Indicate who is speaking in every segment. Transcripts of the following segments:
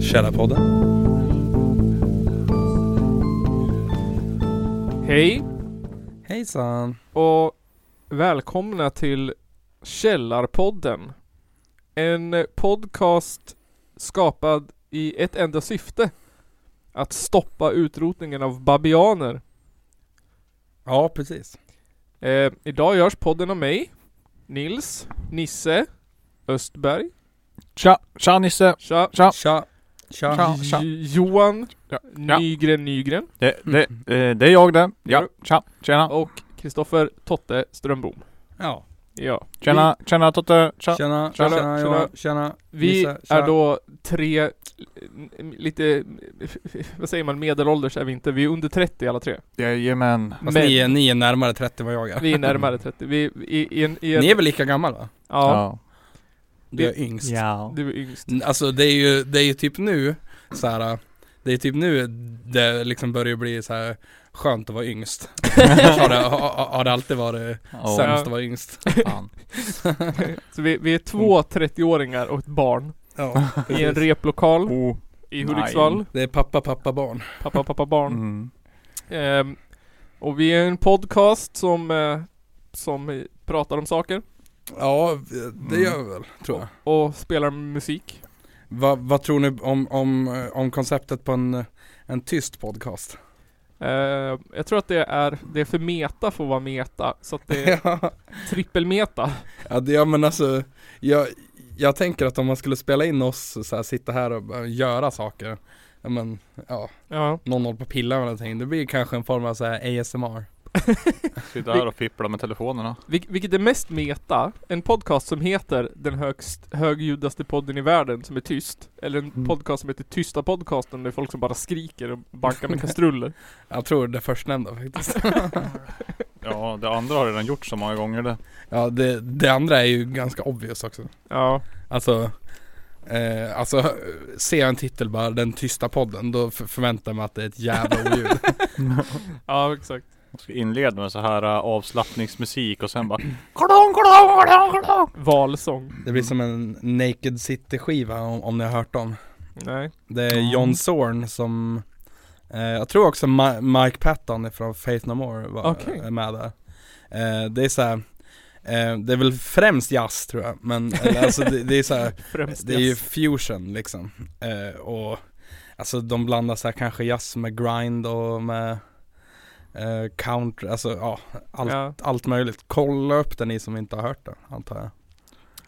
Speaker 1: Källarpodden.
Speaker 2: Hej
Speaker 1: Hejsan.
Speaker 2: och välkomna till Källarpodden. En podcast skapad i ett enda syfte. Att stoppa utrotningen av babianer.
Speaker 1: Ja, precis.
Speaker 2: Eh, idag görs podden av mig, Nils, Nisse, Östberg,
Speaker 3: Tja, tja Nisse.
Speaker 2: tja,
Speaker 3: Tja.
Speaker 1: Tja. Tja.
Speaker 3: Tja.
Speaker 2: J- Johan,
Speaker 3: Ja.
Speaker 2: Nygren Nygren
Speaker 3: Det, det, eh, det är jag det. Ja, tja. Tjena.
Speaker 2: och Kristoffer Totte Strömbom.
Speaker 1: Ja.
Speaker 2: Ja.
Speaker 3: Tjena, tjena Totte. Tja.
Speaker 1: Tjena,
Speaker 3: Tja.
Speaker 1: tjena, tjena, Johan. tjena.
Speaker 2: Vi
Speaker 1: Nisse, tja.
Speaker 2: är då tre, eh, lite, vad säger man, medelålders är vi inte. Vi är under 30 alla tre.
Speaker 3: Jajamän.
Speaker 1: Fast
Speaker 2: Men-
Speaker 1: ni, är, ni är närmare 30 vad jag är.
Speaker 2: Vi är närmare 30. Vi, i, i en, i en,
Speaker 1: Ni är väl lika gammal va?
Speaker 2: ja,
Speaker 1: Du är yngst.
Speaker 3: Ja.
Speaker 2: du är yngst.
Speaker 1: N- Alltså det är ju, det är ju typ nu så här. Det är typ nu det liksom börjar bli så här skönt att vara yngst. har, det, har, har det alltid varit
Speaker 3: Åh,
Speaker 1: sämst
Speaker 2: Ja.
Speaker 1: att vara yngst.
Speaker 3: fan.
Speaker 2: Så vi, vi är två
Speaker 1: Mm.
Speaker 2: 30-åringar och ett barn
Speaker 1: Ja,
Speaker 2: i en replokal
Speaker 3: Oh.
Speaker 2: i
Speaker 3: nej.
Speaker 2: Hudiksvall.
Speaker 1: Det är pappa, pappa, barn.
Speaker 2: Pappa, pappa, barn.
Speaker 3: Mm.
Speaker 2: Ehm, och vi är en podcast som, eh, som eh, pratar om saker
Speaker 1: Ja, det gör vi väl, tror jag.
Speaker 2: och spelar musik.
Speaker 1: Vad, vad tror ni om, om, eh, om konceptet på en, en tyst podcast?
Speaker 2: Ehm, jag tror att det är, det är för meta för att vara meta, så att det är trippelmeta.
Speaker 1: ja, det, ja men alltså, jag, jag tänker att om man skulle spela in oss så här, sitta här och bara göra saker, ja men ja,
Speaker 2: Ja,
Speaker 1: någon håller på och pillar med någonting, det blir kanske en form av så här ASMR.
Speaker 3: Sitta här och fippla med telefonerna.
Speaker 2: Vil- vilket är mest meta? En podcast som heter Den högst, högljudaste podden i världen som är tyst. Eller en
Speaker 3: Mm.
Speaker 2: podcast som heter Tysta podcasten där folk som bara skriker och bankar med kastruller.
Speaker 1: Jag tror det förstnämnda faktiskt.
Speaker 3: Ja, det andra har redan gjort så många gånger det.
Speaker 1: ja, det, det andra är ju ganska obvious också.
Speaker 2: Ja,
Speaker 1: Alltså, eh, alltså ser jag en titel bara, den tysta podden, då f- förväntar jag mig att det är ett jävla oljud.
Speaker 2: ja exakt.
Speaker 3: Jag ska inleda med så här äh, avslappningsmusik och sen bara klong, klong, klong, klong.
Speaker 2: Valsång.
Speaker 1: Det blir som en Naked City skiva om, om ni har hört dem.
Speaker 2: Nej.
Speaker 1: Det är
Speaker 3: Ja.
Speaker 1: John Zorn som eh, Jag tror också Ma- Mike Patton från Faith No More var
Speaker 2: Okej.
Speaker 1: är med där eh, Det är såhär eh, Det är väl främst jazz tror jag men eller, alltså det, det är såhär
Speaker 2: Främst
Speaker 1: Det är ju
Speaker 2: jazz.
Speaker 1: fusion liksom eh, och Alltså de blandar såhär kanske jazz med grind och med eh, Country, alltså ja allt,
Speaker 2: Ja,
Speaker 1: allt möjligt Kolla upp den ni som inte har hört den antar jag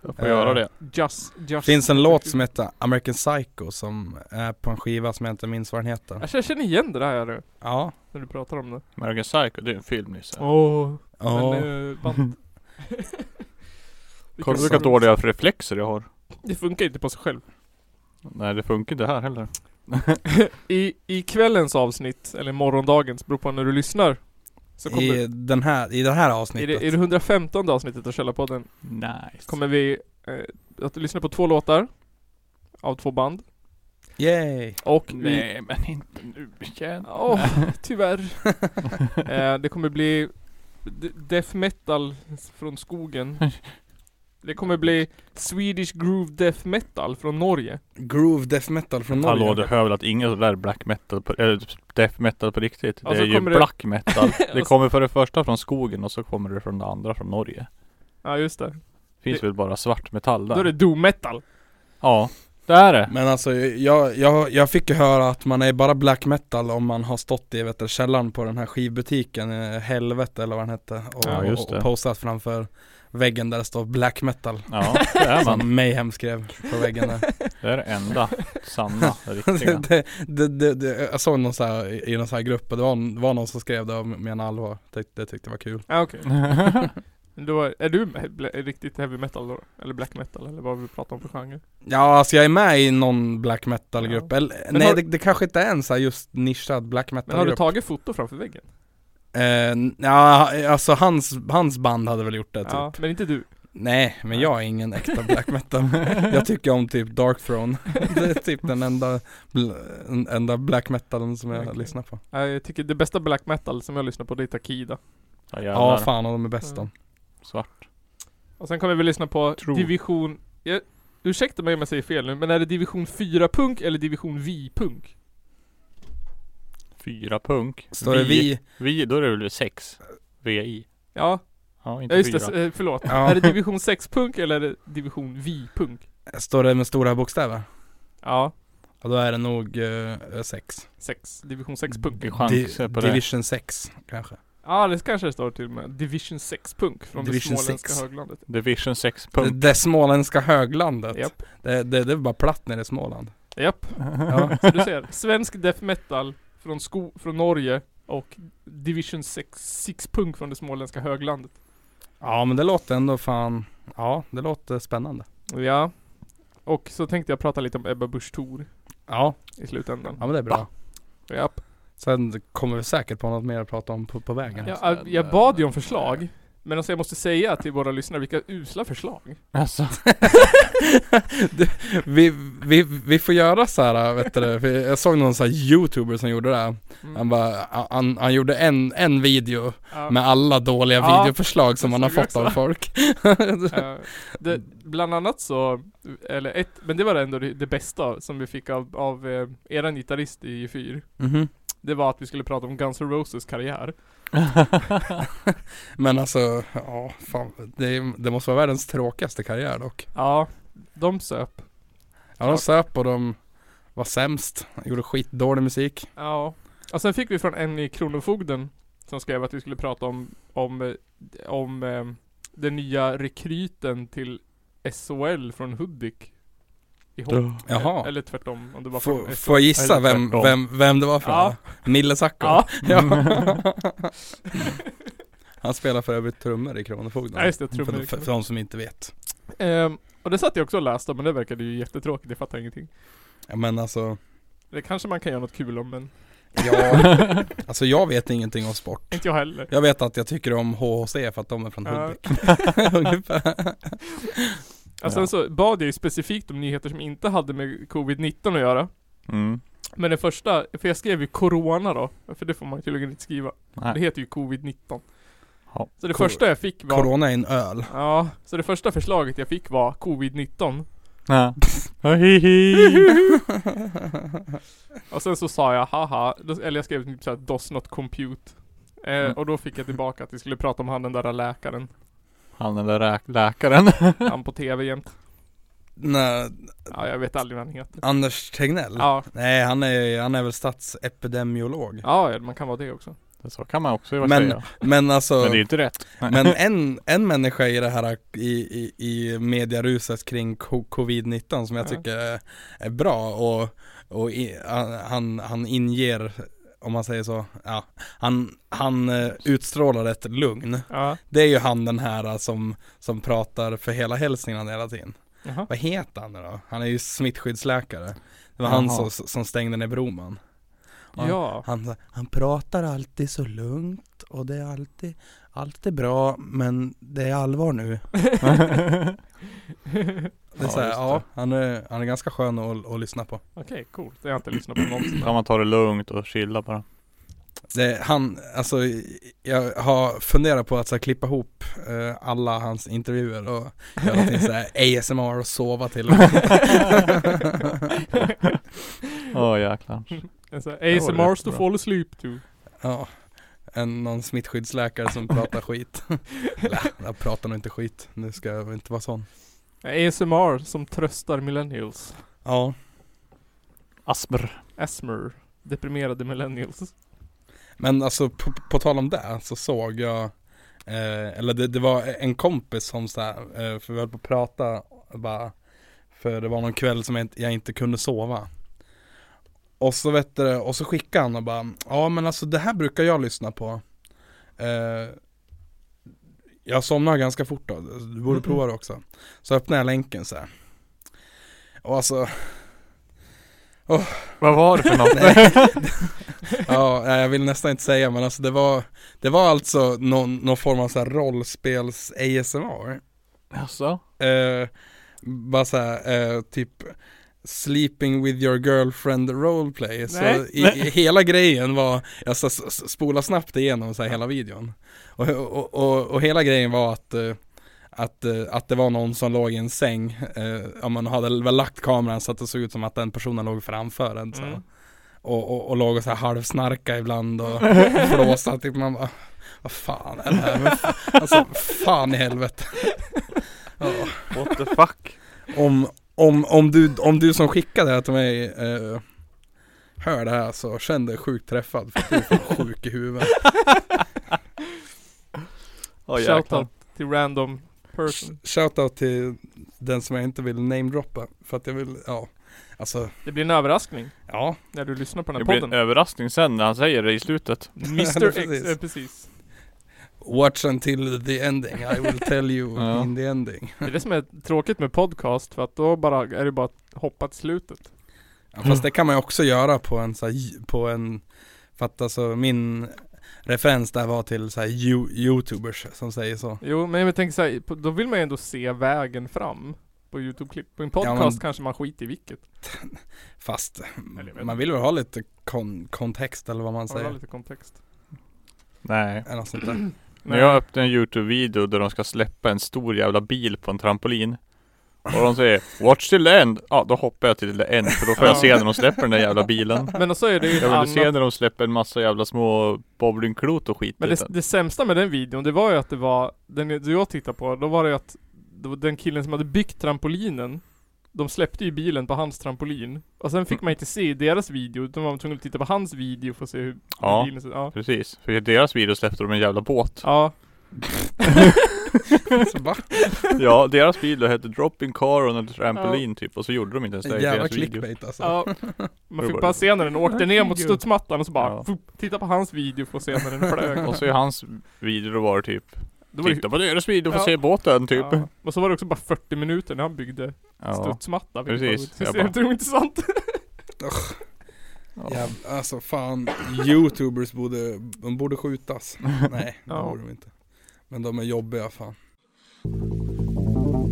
Speaker 3: Jag får göra det.
Speaker 2: jazz, jazz.
Speaker 1: Finns en låt som heter American Psycho som är på en skiva som jag inte minns vad den heter.
Speaker 2: Jag känner- Alltså, jag känner igen det där nu,
Speaker 1: Ja.
Speaker 2: när du pratar om det.
Speaker 3: American Psycho, det är en film Nisse.
Speaker 2: Åh.
Speaker 1: Ja.
Speaker 2: Men, eh, band.
Speaker 3: Kolla vilka
Speaker 2: sorg.
Speaker 3: dåliga reflexer jag har.
Speaker 2: Det funkar inte på sig själv.
Speaker 3: Nej det funkar inte här heller.
Speaker 2: I, I kvällens avsnitt, eller morgondagens, beror på när du lyssnar. Så kommer
Speaker 1: I, den här, I det här
Speaker 2: I
Speaker 1: avsnittet.
Speaker 2: det, i det 115 avsnittet av Källarpodden
Speaker 3: Nice.
Speaker 2: kommer vi eh, att lyssna på två låtar av två band.
Speaker 1: Yay!
Speaker 2: Och vi...
Speaker 3: Nej men inte nu igen.
Speaker 2: Åh, tyvärr. eh, det kommer bli d- death metal från skogen. Det kommer bli Swedish groove death metal från Norge.
Speaker 1: Groove death metal från Norge.
Speaker 3: Hallå du hör väl att inga sådär black metal, på, eller death metal på riktigt?
Speaker 2: Och
Speaker 3: det
Speaker 2: så
Speaker 3: är ju
Speaker 2: kommer det-
Speaker 3: black metal. Det
Speaker 2: så-
Speaker 3: kommer för det första från skogen och så kommer det från det andra från Norge.
Speaker 2: Ja, just det.
Speaker 3: Finns
Speaker 2: Det-
Speaker 3: väl bara svart metall
Speaker 2: Då är
Speaker 3: där?
Speaker 2: det doom metal.
Speaker 3: Ja, det är det.
Speaker 1: Men alltså jag, jag, jag fick ju höra att man är bara black metal om man har stått i vet du, källaren på den här skivbutiken, eh, helvete eller vad den hette och,
Speaker 2: Ja,
Speaker 3: just
Speaker 1: och, och
Speaker 3: det.
Speaker 1: posat framför väggen där det står black metal.
Speaker 3: Ja, det är man.
Speaker 1: Som Mayhem skrev på väggen där.
Speaker 3: Det är det enda sanna, det riktiga.
Speaker 1: det, det, det, det, jag såg någon så här, i någon så här grupp och det var, det var någon som skrev det och menade allvar. Det, det tyckte jag var kul.
Speaker 2: Ja, okej. Då är, är du he- ble- riktigt heavy metal då? Eller black metal? Eller vad vi pratar om för genre?
Speaker 1: Ja, alltså jag är med i någon black metal grupp, eller
Speaker 2: Men
Speaker 1: nej
Speaker 2: har-
Speaker 1: det, det kanske inte är en så här just nischad black
Speaker 2: Men har
Speaker 1: metal
Speaker 2: du
Speaker 1: grupp
Speaker 2: tagit foto framför väggen?
Speaker 1: eh, Ja, alltså hans, hans band hade väl gjort det typ
Speaker 2: Ja, men inte du.
Speaker 1: Nej, men jag är ingen äkta black metal Jag tycker om typ Dark Throne Det är typ den enda, bl- en- enda black metalen som jag
Speaker 2: Okej.
Speaker 1: lyssnar på
Speaker 2: Ja, Jag tycker det bästa black metal som jag lyssnar på det är Takida.
Speaker 1: Ja,
Speaker 3: Ja,
Speaker 2: Mm.
Speaker 3: jävlar.
Speaker 1: fan och de är bäst de
Speaker 3: Svart.
Speaker 2: Och sen kommer vi lyssna på
Speaker 3: Tror.
Speaker 2: division... Jag, ursäkta mig om jag säger fel nu, men är det division 4-punk eller division vi-punk?
Speaker 3: Fyra punk.
Speaker 1: Står det vi?
Speaker 3: Vi, då är det väl sex? VI.
Speaker 2: Ja,
Speaker 3: Ja,
Speaker 2: ja
Speaker 3: inte
Speaker 2: just
Speaker 3: fyra.
Speaker 2: det, eh, förlåt.
Speaker 1: Ja.
Speaker 2: Är det division 6-punk eller är det division vi-punk?
Speaker 1: Står det med stora bokstäver?
Speaker 2: Ja,
Speaker 1: Ja, då är det nog 6.
Speaker 2: 6. Division 6-punk.
Speaker 3: Mm. chanser på det.
Speaker 1: Division 6 kanske.
Speaker 2: Ja, det kanske det står till och med. Division 6-punk från
Speaker 1: Division
Speaker 2: det småländska
Speaker 1: sex.
Speaker 2: höglandet.
Speaker 3: Division 6
Speaker 1: Det,
Speaker 3: punk.
Speaker 1: det småländska höglandet.
Speaker 2: Japp.
Speaker 1: Det, det, det är bara platt nere i Småland.
Speaker 2: Japp,
Speaker 1: Ja.
Speaker 2: så du ser. Svensk death metal från, sko- från Norge och Division 6 6-punk från det småländska höglandet.
Speaker 1: ja men det låter ändå fan, ja det låter spännande.
Speaker 2: Ja. Och så tänkte jag prata lite om Ebba Busch Thor
Speaker 1: Ja,
Speaker 2: i slutändan.
Speaker 1: ja men det är bra.
Speaker 2: Japp.
Speaker 1: Sen kommer vi säkert på något mer att prata om på, på vägen.
Speaker 2: Jag, jag, jag bad ju om förslag. Men alltså jag måste säga till våra lyssnare vilka usla förslag.
Speaker 3: Alltså,
Speaker 1: Vi, vi, vi får göra så här, vet du, för jag såg någon så här youtuber som gjorde det. här. Han, bara, han, han gjorde en, en video
Speaker 2: Mm. Ja,
Speaker 1: med alla dåliga
Speaker 2: Ja,
Speaker 1: videoförslag som
Speaker 2: det
Speaker 1: man har
Speaker 2: såg jag
Speaker 1: fått av
Speaker 2: också.
Speaker 1: folk.
Speaker 2: eh, det, bland annat så, eller ett, men det var ändå det, det bästa som vi fick av, av eh, eran gitarrist i G4.
Speaker 1: Mhm.
Speaker 2: Det var att vi skulle prata om Guns N' Roses karriär.
Speaker 1: Men alltså, ja fan, det, det måste vara världens tråkigaste karriär dock.
Speaker 2: Ja, de söp.
Speaker 1: Ja, de söp och de var sämst, gjorde skitdålig musik.
Speaker 2: Ja. Och sen fick vi från en i Kronofogden som skrev att vi skulle prata om, om, eh, om eh, den nya rekryten till SHL från Hudik. I Hå-
Speaker 1: Jaha.
Speaker 2: Eller tvärtom, om det var
Speaker 1: Får,
Speaker 2: från
Speaker 1: får jag gissa
Speaker 3: Eller
Speaker 1: vem,
Speaker 3: tvärtom.
Speaker 1: vem, vem det var från?
Speaker 2: Ja.
Speaker 1: Mille Sacco?
Speaker 2: Ja.
Speaker 1: Han spelar för övrigt trummor i Kronofogden.
Speaker 2: Ja, just det, trummor i
Speaker 1: för, de- för, för
Speaker 2: Kronofogden.
Speaker 1: de som inte vet.
Speaker 2: Ehm, och det satt jag också och läste om, men det verkade ju jättetråkigt, jag fattar ingenting.
Speaker 1: Ja, men alltså,
Speaker 2: Det kanske man kan göra något kul om, men
Speaker 1: jag, alltså jag vet ingenting om sport.
Speaker 2: inte jag heller.
Speaker 1: Jag vet att jag tycker om HHC för att de är från
Speaker 2: Ja.
Speaker 1: Hudik. Ungefär.
Speaker 2: Och sen
Speaker 1: Ja.
Speaker 2: så bad jag ju specifikt om nyheter som inte hade med Covid-19 att göra.
Speaker 3: mm.
Speaker 2: Men den första, för jag skrev ju Corona då, för det får man tydligen inte skriva. Det
Speaker 3: Nej.
Speaker 2: heter ju Covid-19.
Speaker 3: Ja.
Speaker 2: Så det
Speaker 1: Cor-
Speaker 2: första jag fick var
Speaker 1: Corona är en öl.
Speaker 2: Ja, så det första förslaget jag fick var Covid-19
Speaker 3: Nej. Oh, hi, hi.
Speaker 2: Och sen så sa jag haha, då- eller jag skrev typ såhär does not compute eh,
Speaker 3: Mm.
Speaker 2: Och då fick jag tillbaka att vi skulle prata om han den där läkaren
Speaker 3: Han är där läk- läkaren.
Speaker 2: Han på tv jämt
Speaker 1: Nej,
Speaker 2: Ja, jag vet aldrig vad han heter
Speaker 1: Anders Tegnell?
Speaker 2: Ja,
Speaker 1: Nej han är, han är väl statsepidemiolog.
Speaker 2: ja ja, man kan vara det också
Speaker 3: Så kan man också men,
Speaker 1: Men-
Speaker 3: säga.
Speaker 1: Men alltså,
Speaker 3: Men
Speaker 1: men,
Speaker 3: det är ju inte rätt.
Speaker 1: en, en människa i det här i, i, i mediaruset kring co- covid-19 som jag
Speaker 2: Ja.
Speaker 1: tycker är- är bra och, och i, han, han inger om man säger så, ja. Han, han eh, utstrålar ett lugn.
Speaker 2: Ja,
Speaker 1: Det är ju han den här eh, som, som pratar för hela Hälsingland hela tiden.
Speaker 2: jaha
Speaker 1: Vad heter han nu då? Han är ju smittskyddsläkare. Det var han
Speaker 3: Jaha.
Speaker 1: som, som stängde ner Broman. Ja.
Speaker 2: Ja,
Speaker 1: Han, sa, han pratar alltid så lugnt och det är alltid, allt är bra men det är allvar nu. Det är
Speaker 3: Ja,
Speaker 1: så här,
Speaker 3: just
Speaker 1: ja,
Speaker 3: det.
Speaker 1: han, är, han är ganska skön att, att lyssna på.
Speaker 2: okej coolt, jag har inte lyssnat på någonsin
Speaker 3: kan man ta det lugnt och chilla bara.
Speaker 1: Det, han, alltså, jag har funderat på att så här, klippa ihop eh, alla hans intervjuer och göra till så här, ASMR och sova till.
Speaker 3: Åh jäklar.
Speaker 2: En sån
Speaker 3: det
Speaker 2: här
Speaker 3: var
Speaker 2: ASMRs
Speaker 3: rätt
Speaker 2: to
Speaker 3: bra.
Speaker 2: fall asleep to
Speaker 1: Ja, en, någon smittskyddsläkare som pratar skit. Eller, jag pratar nog inte skit, nu ska jag inte vara sån.
Speaker 2: ASMR som tröstar millennials
Speaker 1: Ja,
Speaker 3: Asper.
Speaker 2: Asmer Deprimerade millennials
Speaker 1: men alltså på, på tal om det så såg jag, eh, eller det, det var en kompis som så här, eh, för vi höll på att prata bara, för det var någon kväll som jag inte, jag inte kunde sova. Och så vet du, och så skickade han och bara, ja men alltså det här brukar jag lyssna på. Eh, jag somnar ganska fort då, du borde prova det också. Så öppnar jag länken så här. Och alltså,
Speaker 3: Vad var det för något?
Speaker 1: nej. ja, nej, jag vill nästan inte säga men alltså det var, det var alltså någon, någon form av så här rollspels ASMR.
Speaker 3: Alltså?
Speaker 1: Eh, bara så här, eh, typ Sleeping with your girlfriend roleplay. Så
Speaker 2: Nej.
Speaker 1: i, i, hela grejen var, alltså, jag så- så- så- spola snabbt igenom så här hela videon. Och, och, och, och hela grejen var att eh, Att, eh, att det var någon som låg i en säng, eh, ja, man hade väl lagt kameran så att det såg ut som att den personen låg framför en så. här.
Speaker 2: Mm.
Speaker 1: och, och, och låg och så här halvsnarka ibland och flåsa typ man bara Vad fan är det här? Men f- Alltså fan i helvete Ja.
Speaker 3: What the fuck?
Speaker 1: om, om, om, du, om du som skickade det här till mig eh, Hör det här så känn dig sjukt träffad för att du är fan sjuk i huvudet
Speaker 3: Åh jäklar.
Speaker 2: Shoutout till random person.
Speaker 1: Shoutout till den som jag inte vill namedroppa för att jag vill, ja Alltså,
Speaker 2: Det blir en överraskning
Speaker 1: ja
Speaker 2: när du lyssnar på den
Speaker 3: Det
Speaker 2: här
Speaker 3: blir en
Speaker 2: podden.
Speaker 3: överraskning sen när han säger det i slutet.
Speaker 2: Mr X,
Speaker 1: Precis.
Speaker 2: eh, precis.
Speaker 1: Watch until the ending, I will tell you
Speaker 3: Ja.
Speaker 1: in the ending
Speaker 2: Det är det som är tråkigt med podcast för att då bara är det bara att hoppa till slutet.
Speaker 1: Ja,
Speaker 2: Mm.
Speaker 1: fast det kan man ju också göra på en så här, j- på en, för att alltså min referens där var till så här you, youtubers som säger så.
Speaker 2: Jo, men jag tänker så här, på- då vill man ju ändå se vägen fram på Youtube-klipp. På en podcast
Speaker 1: Ja, men-
Speaker 2: kanske man skiter i vilket.
Speaker 1: Fast
Speaker 2: Eller jag vet
Speaker 1: man vill väl ha lite kon- kontext eller vad man
Speaker 2: Har du
Speaker 1: säger.
Speaker 2: lite kontext?
Speaker 3: Nej.
Speaker 1: Eller något sånt där.
Speaker 3: När jag öppnade en Youtube-video där de ska släppa en stor jävla bil på en trampolin. Och de säger 'Watch till the end' Ja då hoppar jag till the end för då får jag se när de släpper den där jävla bilen.
Speaker 2: Men så är det ju ett
Speaker 3: Jag vill se
Speaker 2: annat.
Speaker 3: när de släpper en massa jävla små bowlingklot och skit
Speaker 2: Men
Speaker 3: i
Speaker 2: det,
Speaker 3: den.
Speaker 2: det sämsta med den videon, det var ju att det var, den du jag tittade på, då var det ju att det var den killen som hade byggt trampolinen de släppte ju bilen på hans trampolin. Och sen
Speaker 3: Mm.
Speaker 2: fick man inte se deras video, utan man var tvungen att titta på hans video för att se hur
Speaker 3: Ja.
Speaker 2: bilen såg ut. Ja.
Speaker 3: Precis, för i deras video släppte de en jävla båt.
Speaker 2: ja.
Speaker 1: Så va?
Speaker 3: Ja, deras video hette 'Dropping Car on a Trampoline' typ och så gjorde de inte ens det i
Speaker 1: Jävla
Speaker 3: deras video.
Speaker 1: clickbait alltså.
Speaker 2: Ja, man
Speaker 3: Det var
Speaker 2: fick bara
Speaker 3: det.
Speaker 2: se när den åkte ner mot studsmattan och så bara
Speaker 3: Ja.
Speaker 2: fup, Titta på hans video för att se när den flög
Speaker 3: Och så i hans video då var det typ
Speaker 2: Då var det-
Speaker 3: Titta på deras video för
Speaker 2: Ja.
Speaker 3: att se båten typ.
Speaker 2: ja. Och så var det också bara 40 minuter när han byggde
Speaker 3: Ja.
Speaker 2: studsmatta
Speaker 3: Precis.
Speaker 2: Det
Speaker 3: Jag
Speaker 2: är
Speaker 3: bara-
Speaker 2: inte intressant
Speaker 1: Ja, alltså fan, youtubers borde, de borde skjutas. Nej, det
Speaker 2: Ja.
Speaker 1: borde de inte. Men de är jobbiga fan.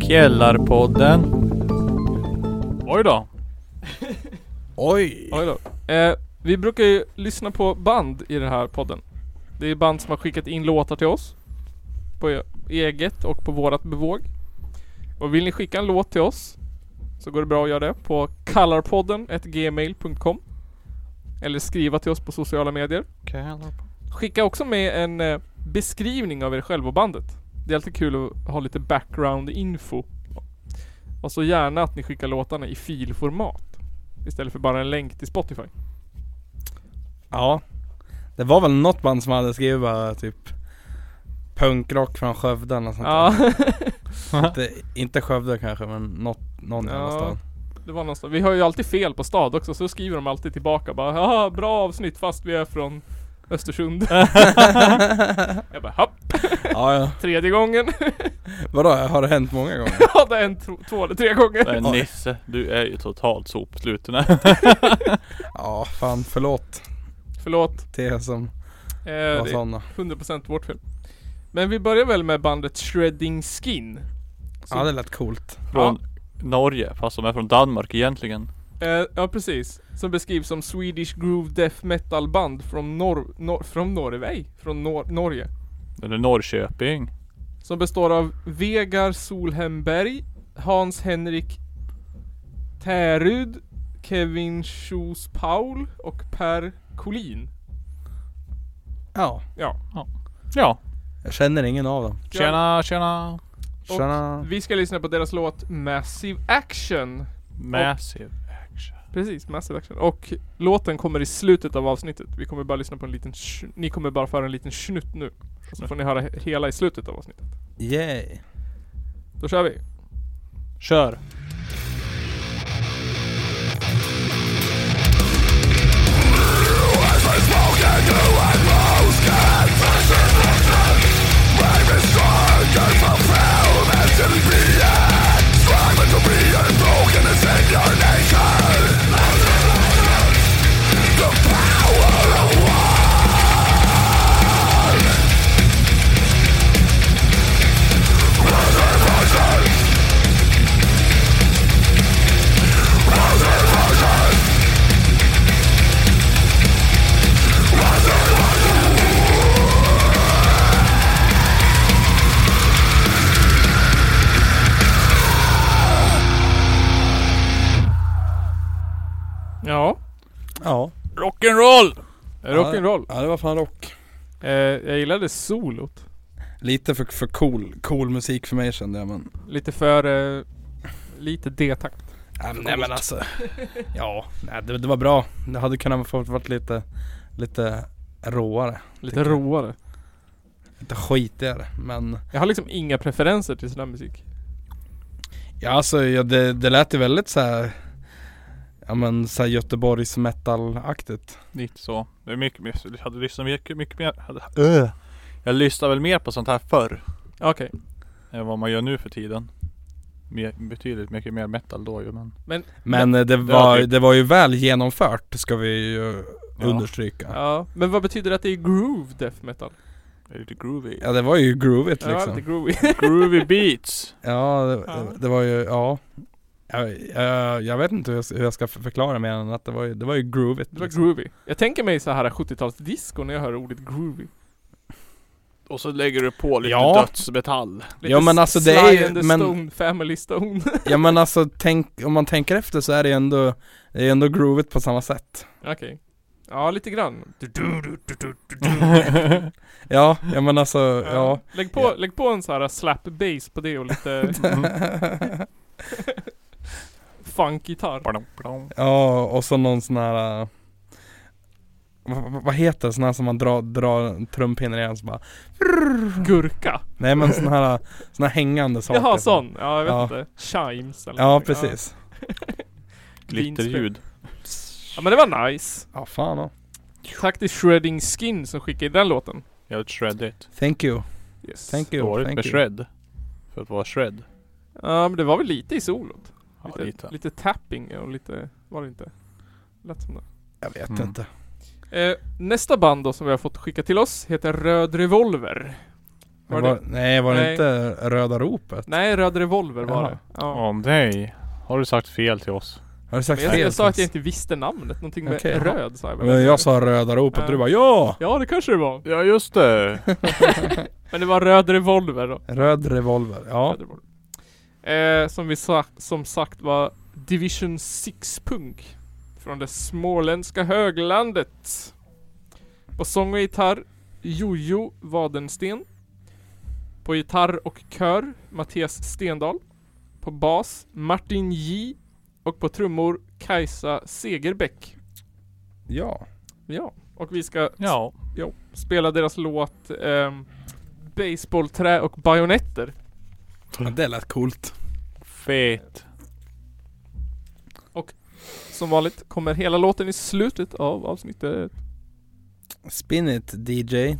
Speaker 3: Källarpodden. Oj då.
Speaker 1: Oj!
Speaker 2: Oj då. Eh, Vi brukar ju lyssna på band i den här podden Det är band som har skickat in låtar till oss På e- eget och på vårat bevåg Och vill ni skicka en låt till oss Så går det bra att göra det på kallarpodden gmail.com Eller skriva till oss på sociala medier Skicka också med en eh, beskrivning av er själva och bandet. Det är alltid kul att ha lite background info. Och så gärna att ni skickar låtarna i filformat. Istället för bara en länk till Spotify.
Speaker 1: Ja Det var väl något band som hade skrivit bara typ Punkrock från Skövde eller något sånt
Speaker 2: Ja,
Speaker 1: där. inte, inte Skövde kanske men något, någon jävla
Speaker 2: Ja.
Speaker 1: stad
Speaker 2: det var någonstans. Vi har ju alltid fel på stad också, så skriver de alltid tillbaka bara Haha, bra avsnitt fast vi är från Östersund. Jag bara hopp,
Speaker 1: ja, ja.
Speaker 2: tredje gången.
Speaker 1: Vadå, har det hänt många gånger?
Speaker 2: Ja, det är en tro- två eller tre gånger.
Speaker 3: Men Nisse, du är ju totalt sopsluten.
Speaker 1: ja fan förlåt
Speaker 2: Förlåt.
Speaker 1: till er som
Speaker 2: Eh,
Speaker 1: var
Speaker 2: det-
Speaker 1: sådana
Speaker 2: 100% vårt fel. Men vi börjar väl med bandet Shredding Skin. Så-
Speaker 1: Ja det lät coolt
Speaker 3: Från Norge, fast de är från Danmark egentligen.
Speaker 2: Eh, ja precis. Som beskrivs som Swedish Groove Death Metal Band från Nor- Nor- från Norge, från Nor- Norge.
Speaker 3: Eller Norrköping.
Speaker 2: Som består av Vegar Solhemberg, Hans Henrik Tärud, Kevin Schuss Paul och Per Collin.
Speaker 1: Ja
Speaker 2: Ja.
Speaker 3: Ja.
Speaker 1: Jag känner ingen av dem
Speaker 3: Tjena, tjena.
Speaker 2: Och-
Speaker 1: Tjena
Speaker 2: Vi ska lyssna på deras låt Massive Action.
Speaker 3: Massive action.
Speaker 2: Precis, Massive Action. Och låten kommer i slutet av avsnittet. Vi kommer bara lyssna på en liten sh- Ni kommer bara få höra en liten snutt nu. Och så får ni höra he- hela i slutet av avsnittet.
Speaker 1: Yay
Speaker 2: Då kör vi!
Speaker 3: Kör.
Speaker 4: Rise
Speaker 3: Rock'n'roll!
Speaker 2: Rock'n'roll.
Speaker 1: Ja det var fan rock.
Speaker 2: Eh, jag gillade solot.
Speaker 1: Lite för, för cool, cool musik för mig kände jag men.
Speaker 2: Lite för... Eh, lite D-takt.
Speaker 1: Ja, men- nej men alltså. Ja, nej, det, det var bra. Det hade kunnat få varit lite, lite råare.
Speaker 2: Lite
Speaker 1: Tycker jag.
Speaker 2: råare.
Speaker 1: Lite skitigare. Men
Speaker 2: Jag har liksom inga preferenser till sån här musik.
Speaker 1: ja alltså ja, det, det lät ju väldigt så här. Ja men såhär Göteborgs metal-aktigt.
Speaker 3: Lite så. Det är mycket, mer- jag hade lyssnat mycket, mycket mer. Hade, äh. Jag lyssnade väl mer på sånt här förr.
Speaker 2: Okej.
Speaker 3: Än vad man gör nu för tiden. Mer, betydligt mycket mer metal då ju men.
Speaker 1: Men eh, det
Speaker 3: Ja,
Speaker 1: var,
Speaker 3: det-
Speaker 1: det var ju väl genomfört ska vi ju
Speaker 3: Ja.
Speaker 1: understryka. Ja.
Speaker 2: Ja. Men vad betyder det att det är groove death metal?
Speaker 3: Det är lite groovy.
Speaker 1: det var ju groovigt
Speaker 2: Ja, det var
Speaker 1: liksom.
Speaker 2: lite groovy.
Speaker 3: Groovy beats.
Speaker 1: Ja, det,
Speaker 2: Ja.
Speaker 1: det var ju, ja. Jag, jag, jag vet inte hur jag, hur jag ska förklara mer än att det var ju, det var ju groovigt.
Speaker 2: Det var
Speaker 1: liksom.
Speaker 2: groovy. Jag tänker mig så här 70-talsdisco när jag hör ordet groovy.
Speaker 3: Och så lägger du på lite
Speaker 1: Ja.
Speaker 3: dödsmetall.
Speaker 2: Lite
Speaker 1: Ja, men alltså, det är
Speaker 2: Sly
Speaker 1: ju-
Speaker 2: and the
Speaker 1: men-
Speaker 2: Stone, Family Stone.
Speaker 1: Ja men alltså tänk, om man tänker efter så är det ju ändå, det är ju ändå groovigt på samma sätt.
Speaker 2: Okej. Ja, lite grann.
Speaker 1: Ja, ja men alltså, ja.
Speaker 2: Lägg på,
Speaker 1: Ja.
Speaker 2: lägg på en så här slap bass på det och lite Mm. funk-gitarr.
Speaker 3: Badum, badum.
Speaker 1: Ja, och så någon sån här äh, vad, vad heter det? Sån här som man drar, drar trumpinnar i en så bara
Speaker 2: Gurka.
Speaker 1: Nej men sån här, sån här hängande saker
Speaker 2: Jaha, sån. Ja, jag vet
Speaker 1: Ja.
Speaker 2: inte. Chimes eller
Speaker 1: Ja
Speaker 2: någonting.
Speaker 1: precis
Speaker 3: Glitterljud.
Speaker 2: Ja, men det var nice.
Speaker 1: Ja fan ja.
Speaker 2: Tack till Shredding Skin som skickade den låten.
Speaker 3: Jävligt shreddigt.
Speaker 1: Thank you,
Speaker 2: Yes.
Speaker 1: thank you,
Speaker 3: Dåligt
Speaker 1: thank
Speaker 3: med
Speaker 1: you.
Speaker 3: shred. För att vara shred.
Speaker 2: Ja, men det var väl lite i solot.
Speaker 3: Ja,
Speaker 2: Lite, lite.
Speaker 3: lite.
Speaker 2: tapping och lite, var det inte? Lät som det.
Speaker 1: Jag vet
Speaker 3: Mm.
Speaker 1: inte
Speaker 2: Eh, nästa band då som vi har fått skicka till oss heter Röd Revolver. Var
Speaker 1: var
Speaker 2: det?
Speaker 1: Nej var det
Speaker 2: Nej.
Speaker 1: inte Röda Ropet?
Speaker 2: Nej, Röd Revolver var
Speaker 1: Jaha.
Speaker 2: det. Ja.
Speaker 3: Åh nej. Har du sagt fel till oss?
Speaker 1: Har du sagt
Speaker 2: Men jag,
Speaker 1: fel?
Speaker 2: jag sa att jag
Speaker 1: Mats?
Speaker 2: inte visste namnet, någonting med
Speaker 1: Okej.
Speaker 2: röd sa jag bara.
Speaker 1: Men jag sa Röda Ropet
Speaker 2: Ja.
Speaker 1: och du bara ja!
Speaker 2: Ja det kanske det var.
Speaker 3: Ja just det.
Speaker 2: Men det var Röd Revolver då.
Speaker 1: Röd Revolver, ja
Speaker 2: Röd Revolver. Eh, som vi sa, som sagt var Division 6 punk. Från det småländska höglandet. På sång och gitarr Jojo Wadensten. På gitarr och kör Mattias Stendal. På bas Martin J. Och på trummor Kajsa Segerbäck.
Speaker 1: Ja
Speaker 2: Ja. Och vi ska
Speaker 3: Ja.
Speaker 2: Jo, spela deras låt ehm, Baseballträ och bajonetter.
Speaker 1: Ja, Det lät coolt
Speaker 3: Fet.
Speaker 2: Som vanligt kommer hela låten i slutet av avsnittet.
Speaker 1: Spin it DJ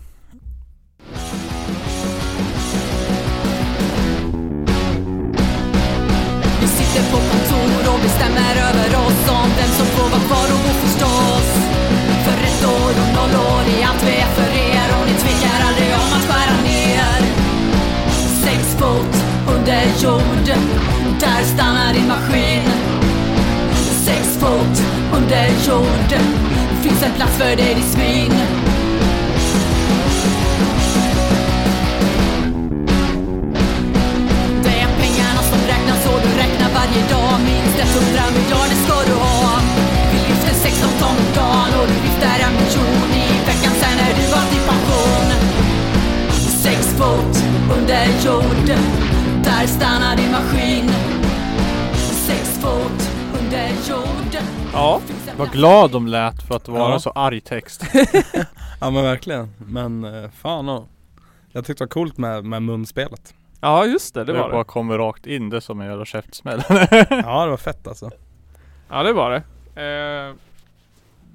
Speaker 4: Vi sitter på kontor och bestämmer över oss om vem som får vara kvar och bo förstås. För ett år och noll år i allt vi är för er och ni tvekar aldrig om att skära ner. Sex fot under jord, där stannar din maskin. Sex fot under jord, finns en plats för dig ditt svin. Det är pengarna som räknas och du räknar varje dag Minst 100 miljarder ska du ha Vi lyfter 16 ton om dagen och du viftar en miljon i veckan sen är du valt i pension Sex fot under jord Där stannar din maskin Sex fot under jord
Speaker 2: Ja.
Speaker 3: Vad glad de lät för att vara
Speaker 1: Ja.
Speaker 3: så arg text.
Speaker 1: Ja men verkligen, men eh, fan och. Jag tyckte det var coolt med, med munspelet
Speaker 2: Ja just det, det var
Speaker 3: bara
Speaker 2: det.
Speaker 3: kommer rakt in det som en jävla käftsmäll.
Speaker 1: Ja det var fett alltså
Speaker 2: Ja det var det. Eh,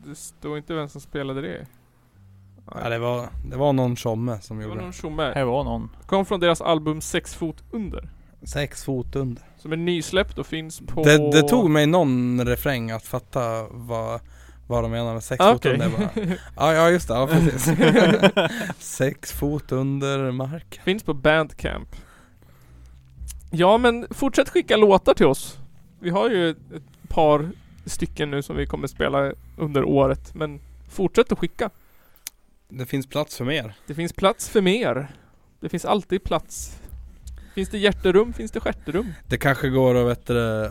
Speaker 2: det står inte vem som spelade det.
Speaker 1: ja, det, var, det var någon tjomme som
Speaker 2: Det var
Speaker 1: gjorde
Speaker 2: någon tjomme.
Speaker 3: Här var någon.
Speaker 2: Kom från deras album Sex fot under.
Speaker 1: det Sex fot under
Speaker 2: Som är nysläppt och finns på...
Speaker 1: det, det tog mig någon refräng att fatta vad, vad de menar med sex
Speaker 2: Ah,
Speaker 1: fot
Speaker 2: okej.
Speaker 1: under bara. Ja, ja just det, ja precis Sex fot under mark
Speaker 2: Finns på Bandcamp. Ja men fortsätt skicka låtar till oss. Vi har ju ett par stycken nu som vi kommer spela under året men fortsätt att skicka.
Speaker 1: Det finns plats för mer
Speaker 2: Det finns plats för mer. Det finns alltid plats. Finns det hjärterum? Finns det stjärterum?
Speaker 1: Det kanske går att vet du,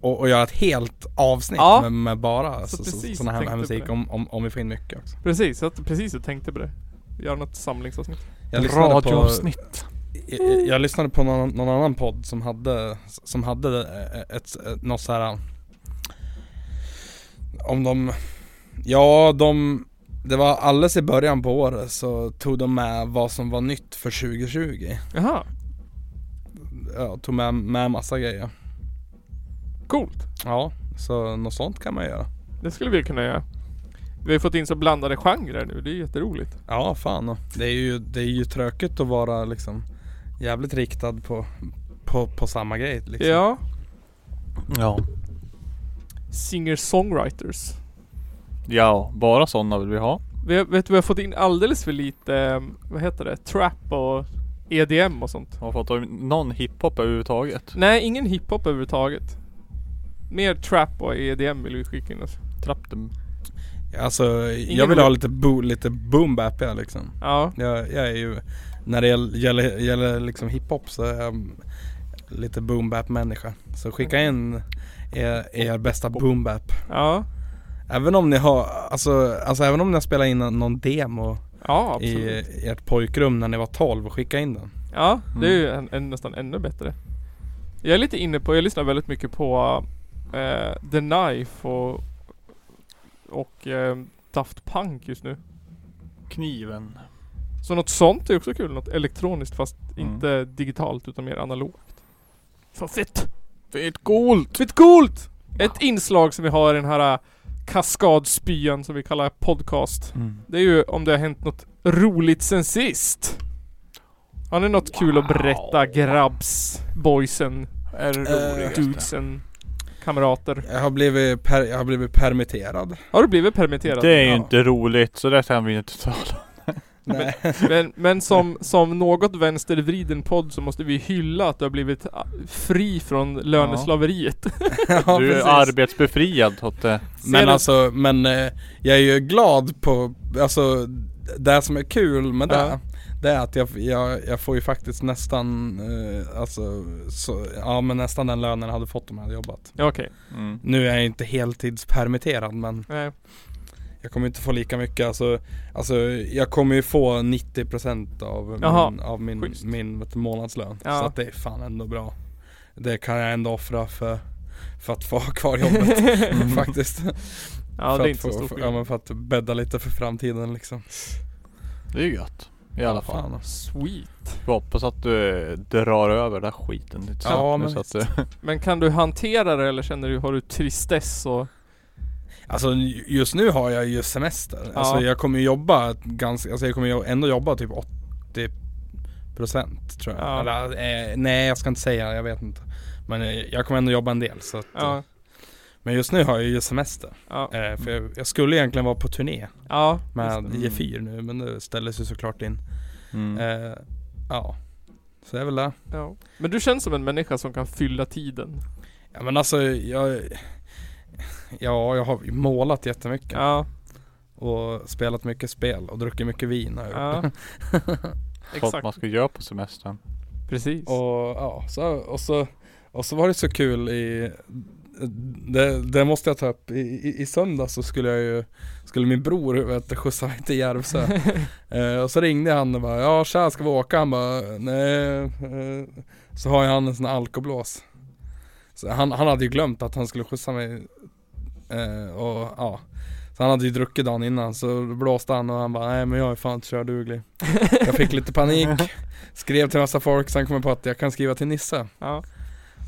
Speaker 1: och, och göra ett helt avsnitt
Speaker 2: Ja.
Speaker 1: med, med bara så,
Speaker 2: Så
Speaker 1: så,
Speaker 2: precis,
Speaker 1: sån här, här
Speaker 2: tänkte på
Speaker 1: musik
Speaker 2: det.
Speaker 1: om, om, om vi får in mycket också.
Speaker 2: Precis, jag precis jag tänkte på det. Gör något samlingsavsnitt.
Speaker 1: Jag lyssnade, på, jag, jag lyssnade på någon, någon annan podd som hade, som hade eh, ett, ett, något så här Om de, ja de det var alldeles i början på året så tog de med vad som var nytt för 2020
Speaker 2: Jaha,
Speaker 1: ja, Tog med, med massa grejer
Speaker 2: coolt.
Speaker 1: Ja, så något sånt kan man göra
Speaker 2: Det skulle vi kunna göra. Vi har ju fått in så blandade genrer nu, det är jätteroligt.
Speaker 1: Ja, fan. Det är ju, det är ju tråkigt att vara liksom jävligt riktad på, på, på samma grej liksom.
Speaker 2: Ja,
Speaker 3: Ja.
Speaker 2: singer-songwriters.
Speaker 3: Ja, bara sådana vill vi ha.
Speaker 2: Vi har, vet du, vi har fått in alldeles för lite, eh, vad heter det, trap och EDM och sånt.
Speaker 3: Har fått någon hiphop överhuvudtaget.
Speaker 2: Nej, ingen hiphop överhuvudtaget. Mer trap och EDM vill vi skicka in oss.
Speaker 3: Trapp dem.
Speaker 1: Alltså,
Speaker 2: Ingen
Speaker 1: jag vill ha
Speaker 2: rolig-
Speaker 1: lite, bo, lite boom bapiga liksom.
Speaker 2: Ja,
Speaker 1: Jag, jag är ju, när det gäll- gäller, gäller liksom hiphop så är jag lite boom bap människa. Så skicka in er, er bästa boom bap.
Speaker 2: ja,
Speaker 1: Även om ni har, alltså, alltså även om ni har spelat in någon demo
Speaker 2: ja
Speaker 1: i
Speaker 2: absolut.
Speaker 1: ert pojkrum när ni var 12, skicka in den.
Speaker 2: Ja, det är ju en, en, nästan ännu bättre. Jag är lite inne på, jag lyssnar väldigt mycket på eh, The Knife och, och eh, Daft Punk just nu.
Speaker 3: Kniven.
Speaker 2: Så något sånt är också kul, något elektroniskt fast
Speaker 3: Mm.
Speaker 2: inte digitalt utan mer analogt. Fan fett!
Speaker 3: Det är ett coolt!
Speaker 2: Fett coolt! Ett inslag som vi har i den här eh, kaskadspyan som vi kallar podcast.
Speaker 1: Mm.
Speaker 2: Det är ju om det har hänt något roligt sen sist. Har ni något kul att berätta grabbs, boysen,
Speaker 3: Är det
Speaker 1: Eh,
Speaker 3: roligaste.
Speaker 2: dudesen, kamrater?
Speaker 1: Jag har blivit, per, jag har blivit permitterad.
Speaker 2: Har du blivit permitterad?
Speaker 3: Det är ju
Speaker 1: Ja.
Speaker 3: inte roligt, så det kan vi inte tala om.
Speaker 1: Nej.
Speaker 2: Men, men som, som något vänstervriden podd så måste vi hylla att du har blivit ah, fri från löneslaveriet.
Speaker 1: Ja,
Speaker 3: Du är
Speaker 1: precis.
Speaker 3: arbetsbefriad eh, Totte.
Speaker 1: Men
Speaker 2: Senast-
Speaker 1: alltså, men eh, jag är ju glad på, alltså det som är kul med det,
Speaker 2: Ja.
Speaker 1: det är att jag, jag, jag får ju faktiskt nästan, eh, alltså, så, ja men nästan den lönen jag hade fått om jag hade jobbat.
Speaker 2: Ja, Okej.
Speaker 3: Mm.
Speaker 1: Nu är jag ju inte heltidspermitterad men
Speaker 2: Nej.
Speaker 1: jag kommer inte få lika mycket, alltså, alltså jag kommer ju få 90% av
Speaker 2: Jaha,
Speaker 1: min, av min,
Speaker 2: schysst.
Speaker 1: min vet, du, månadslön.
Speaker 2: Ja.
Speaker 1: Så att det är fan ändå bra. Det kan jag ändå offra för, för att få ha kvar jobbet faktiskt.
Speaker 2: Ja,
Speaker 1: för att
Speaker 2: det är inte så
Speaker 1: få-
Speaker 2: stor
Speaker 1: för, ja, men
Speaker 2: skillnad.
Speaker 1: för att bädda lite för framtiden liksom.
Speaker 3: Det är ju gött. I alla fall.
Speaker 1: Fan. alltså.
Speaker 2: Sweet.
Speaker 3: Jag hoppas att du drar över den här skiten lite
Speaker 1: Ja,
Speaker 3: snabbt
Speaker 1: men
Speaker 3: nu så att eh, du...
Speaker 2: Men kan du hantera det eller känner du, har du tristess och...
Speaker 1: Alltså just nu har jag ju semester.
Speaker 2: Ja.
Speaker 1: Alltså jag kommer ju jobba ganska, alltså jag kommer ju ändå jobba typ 80% tror jag.
Speaker 2: Ja.
Speaker 1: Eller, eh, nej jag ska inte säga, jag vet inte. Men eh, jag kommer ändå jobba en del så att, eh,
Speaker 2: Ja,
Speaker 1: Men just nu har jag ju semester.
Speaker 2: ja,
Speaker 1: Eh, för jag, jag skulle egentligen vara på turné
Speaker 2: ja.
Speaker 1: med
Speaker 2: Mm.
Speaker 3: Just det.
Speaker 1: G4 nu men det ställdes ju såklart in.
Speaker 3: Mm.
Speaker 1: Eh, ja. Så det är väl det.
Speaker 2: ja. Men du känns som en människa som kan fylla tiden.
Speaker 1: Ja men alltså jag Ja, jag har ju målat jättemycket
Speaker 2: Ja,
Speaker 1: och spelat mycket spel och druckit mycket vin har jag gjort.
Speaker 2: ja.
Speaker 3: Vad man
Speaker 2: Exakt.
Speaker 3: ska göra på semestern.
Speaker 2: Precis.
Speaker 1: Och ja, så, och så Och så var det så kul i det, det måste jag ta upp. I, i, i söndag så skulle jag ju Skulle min bror vet, du, skjutsa mig till Järvsö eh, Och så ringde han och bara Ja tja ska vi åka? Han bara Nej eh, Så har ju han en sån här alkoblås så han, han hade ju glömt att han skulle skjutsa mig eh, Och ja Så han hade ju druckit dagen innan så då blåste han och han bara Nej men jag är fan inte körduglig Jag fick lite panik Skrev till massa folk sen kom jag på att jag kan skriva till Nisse
Speaker 2: Ja.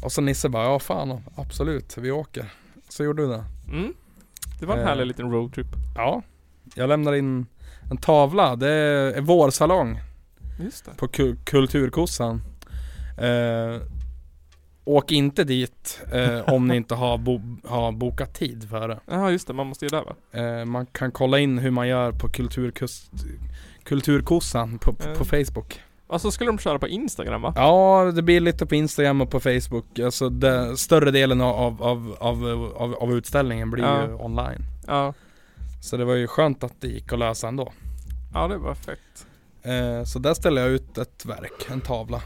Speaker 1: och så Nisse bara, ja fan absolut, vi åker. Så gjorde vi det.
Speaker 2: Mm. Det var en
Speaker 1: Eh.
Speaker 2: härlig liten roadtrip.
Speaker 1: Ja. Jag lämnar in en tavla, det är vår salong
Speaker 2: Just det.
Speaker 1: på ku- Kulturkossan. Eh, åk inte dit eh, om ni inte har, bo- har bokat tid för det.
Speaker 2: Ja, just det. Man måste ju där va?
Speaker 1: Eh, man kan kolla in hur man gör på Kulturkust Kulturkossan på, på, på Facebook.
Speaker 2: Alltså skulle de köra på Instagram va?
Speaker 1: Ja, det blir lite på Instagram och på Facebook. Alltså det, större delen av, av, av, av, av utställningen blir
Speaker 2: Ja.
Speaker 1: ju online.
Speaker 2: Ja.
Speaker 1: Så det var ju skönt att det gick att lösa ändå.
Speaker 2: Ja, det var fett.
Speaker 1: Eh, så där ställde jag ut ett verk, en tavla.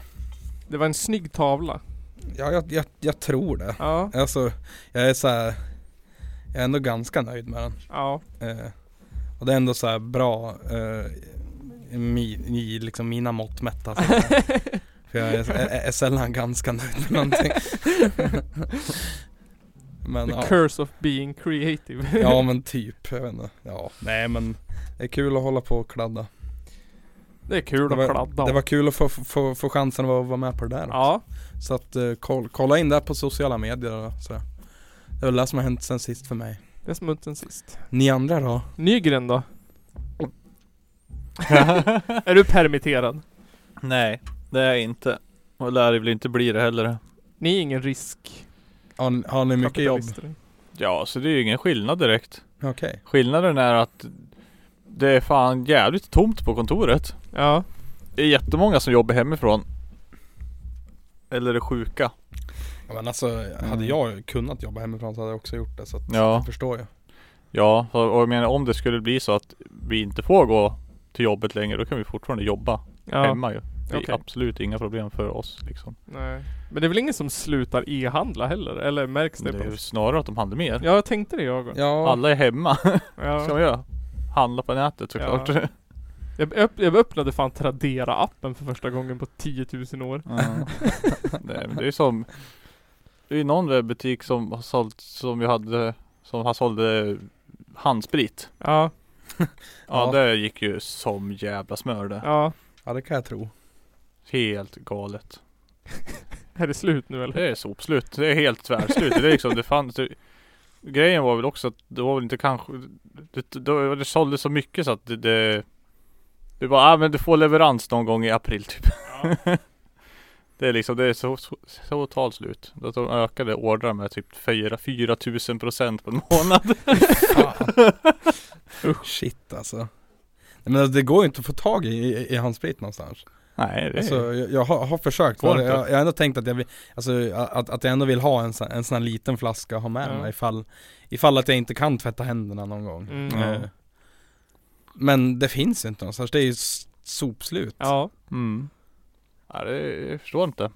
Speaker 2: Det var en snygg tavla.
Speaker 1: Ja, jag, jag, jag tror det.
Speaker 2: Ja,
Speaker 1: Alltså, jag är så här, jag är ändå ganska nöjd med den.
Speaker 2: ja,
Speaker 1: Eh, och det är ändå så här bra eh, i mi, i liksom mina mått mätt alltså. För jag är, är, är sällan ganska nöjd med någonting. men
Speaker 2: the
Speaker 1: ja.
Speaker 2: curse of being creative.
Speaker 1: ja men typ, jag vet inte. Ja, nej men det är kul att hålla på och kladda.
Speaker 2: det är kul
Speaker 1: Det
Speaker 2: att
Speaker 1: var,
Speaker 2: kladda
Speaker 1: det
Speaker 2: om.
Speaker 1: var kul att få, få, få chansen att vara- vara med på det där också.
Speaker 2: Ja,
Speaker 1: Så att eh, koll, kolla in där på sociala medier och så. Det är väl det som har hänt sen sist för mig.
Speaker 2: det är smutsen sist.
Speaker 1: Ni andra då?
Speaker 2: Nygren då? Är du permitterad?
Speaker 3: Nej, det är jag inte. Och lär det väl inte bli det heller.
Speaker 2: Ni är ingen risk.
Speaker 1: Har, ni- har ni mycket jobb?
Speaker 2: kapitalister.
Speaker 3: Ja, så det är ju ingen skillnad direkt.
Speaker 1: Okej.
Speaker 3: Skillnaden är att det är fan jävligt tomt på kontoret.
Speaker 2: Ja,
Speaker 3: Det är jättemånga som jobbar hemifrån. Eller är sjuka.
Speaker 1: Ja, Men alltså, hade jag kunnat jobba hemifrån så hade jag också gjort det så att
Speaker 3: Ja.
Speaker 1: jag förstår ju.
Speaker 3: Ja, och och jag menar om det skulle bli så att vi inte får gå till jobbet längre, då kan vi fortfarande jobba
Speaker 2: ja.
Speaker 3: hemma ju. Det är
Speaker 2: Okej.
Speaker 3: absolut inga problem för oss liksom.
Speaker 2: Nej. Men det är väl ingen som slutar e-handla heller? Eller märks
Speaker 3: Det
Speaker 2: det?
Speaker 3: är
Speaker 2: på
Speaker 3: ju snarare att de handlar mer.
Speaker 2: Ja, jag tänkte det jag. Ja.
Speaker 1: Ja,
Speaker 3: Alla är hemma. Vad ska
Speaker 2: Ja.
Speaker 3: man göra? Handla på nätet såklart.
Speaker 2: Ja. Jag, öpp- jag öppnade fan Tradera-appen för första gången på 10 000 år.
Speaker 3: Mm. Nej, men det är som Det är ju någon webbutik som har sålt Som vi hade Som har sålde Handsprit
Speaker 2: Ja,
Speaker 3: Ja,
Speaker 1: Ja.
Speaker 3: det gick ju som jävla smör det
Speaker 2: ja.
Speaker 1: ja det kan jag tro.
Speaker 3: Helt galet
Speaker 2: Är det slut nu eller?
Speaker 3: Det är sopslut Det är helt tvärslut Det är liksom det fanns det, Grejen var väl också att det var väl inte kanske Det, det, det sålde så mycket så att det, det Du bara, ah, men du får leverans någon gång i april typ Det är liksom, det är så, så, så totalt slut. Att de ökade ordrar med typ 4 4000 procent på en månad.
Speaker 1: Fan. Shit alltså. Nej, Men alltså, det går ju inte att få tag i, i, i handsprit någonstans.
Speaker 3: Nej, det är...
Speaker 1: Alltså, jag, jag har, har försökt.
Speaker 3: Går
Speaker 1: Jag,
Speaker 3: inte.
Speaker 1: jag jag har ändå tänkt att jag vill, alltså, att, att jag ändå vill ha en, sån- en sån här liten flaska att ha med
Speaker 2: Ja.
Speaker 1: mig ifall, ifall att jag inte kan tvätta händerna någon gång.
Speaker 2: Mm.
Speaker 3: Ja.
Speaker 1: Eh, Men det finns ju inte någonstans. Det är ju s- sopslut.
Speaker 2: Ja.
Speaker 3: Mm. Ja, det, jag förstår inte.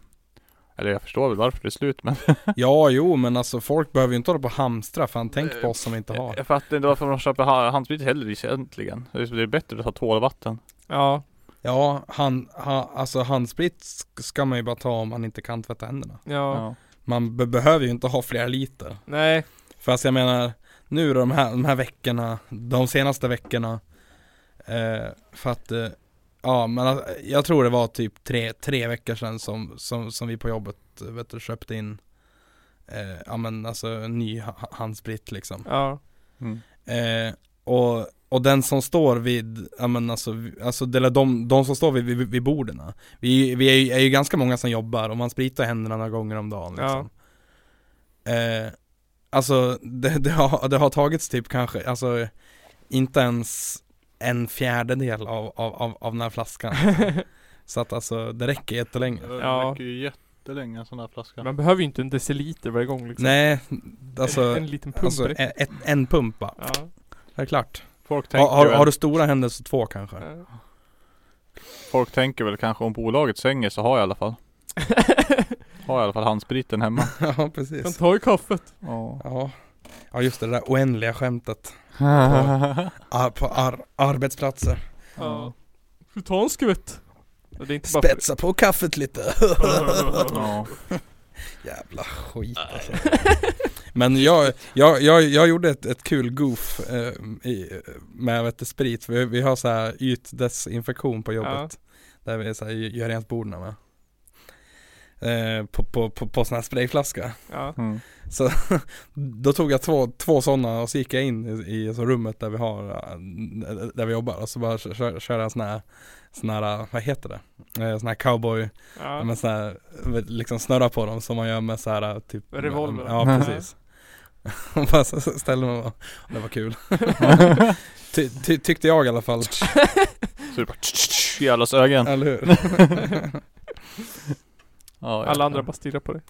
Speaker 3: Eller jag förstår väl varför det är slut men
Speaker 1: Ja, jo men alltså folk behöver ju inte hålla på och hamstra fan tänk på oss som inte har.
Speaker 3: Jag fattar inte varför de köper ha- handsprit heller egentligen. Det är det är bättre att ta tålvatten.
Speaker 2: Ja.
Speaker 1: Ja, han, ha, alltså handsprit sk- ska man ju bara ta om man inte kan tvätta händerna.
Speaker 2: Ja.
Speaker 1: Man be- behöver ju inte ha flera liter.
Speaker 2: Nej.
Speaker 1: För alltså jag menar, nu då de här, de här veckorna, de senaste veckorna. Eh, för att, eh, ja men alltså, jag tror det var typ tre, tre veckor sedan som, som, som vi på jobbet eh, vet du, köpte in eh, Ja men alltså en ny ha- handsprit liksom.
Speaker 2: Ja.
Speaker 3: Mm.
Speaker 1: Eh, och, och den som står vid, ja men alltså, vi- alltså eller de, de som står vid, vid, vid borden. Vi, vi är, ju, är ju ganska många som jobbar och man spritar händerna några gånger om dagen liksom. eh, Alltså det, det, har, det har tagits typ kanske, alltså inte ens en fjärdedel av, av, av, av den här flaskan. Så att alltså det räcker jättelänge.
Speaker 2: Ja.
Speaker 3: Det räcker ju jättelänge en sån här flaska.
Speaker 2: Man behöver ju inte en deciliter varje gång liksom.
Speaker 1: Nej, alltså,
Speaker 2: En liten pump
Speaker 1: alltså
Speaker 2: direkt.
Speaker 1: en, ett- en pumpa,
Speaker 2: Ja.
Speaker 1: det är klart.
Speaker 3: Folk tänker,
Speaker 1: Har, har,
Speaker 3: väl,
Speaker 1: har du stora händer så två kanske.
Speaker 3: folk tänker väl kanske om bolaget sänger så har jag i alla fall. Har jag i alla fall handspriten hemma.
Speaker 1: ja
Speaker 2: Kan
Speaker 1: precis.
Speaker 2: ta i kaffet.
Speaker 3: Ja.
Speaker 1: Ja. ja, just det, det där oändliga skämtet Ar- på ar- arbetsplatser.
Speaker 2: Ja. Får ta en skvätt. Ja, Det är inte bara för...
Speaker 1: Spetsa på kaffet lite.
Speaker 3: Ja.
Speaker 1: Jävla skit alltså. Men jag, jag, jag, jag gjorde ett, ett kul goof eh, i, med vet, du, sprit. Vi, vi har så här ytdesinfektion på jobbet. Där vi så här, gör rent borden med. Eh, på, på, på, på sån här sprayflaska.
Speaker 2: Ja.
Speaker 3: Mm.
Speaker 1: Så då tog jag två, två sådana och så gick jag in i, i så rummet där vi har, äh, där vi jobbar och så bara kö- kö- körde jag sån här, sån här, äh, vad heter det? Eh, Sån här cowboy, ja.
Speaker 2: Ja.
Speaker 1: men sån här, vet, liksom snurra på dem som man gör med så här äh, typ
Speaker 2: Revolver.
Speaker 1: Ja precis. Och bara så- så ställde man bara, det var kul. ty, ty, tyckte jag i alla fall,
Speaker 3: Så det bara tsch, i allas ögon.
Speaker 1: eller hur?
Speaker 3: Ja,
Speaker 2: Alla andra bara stirrar på dig.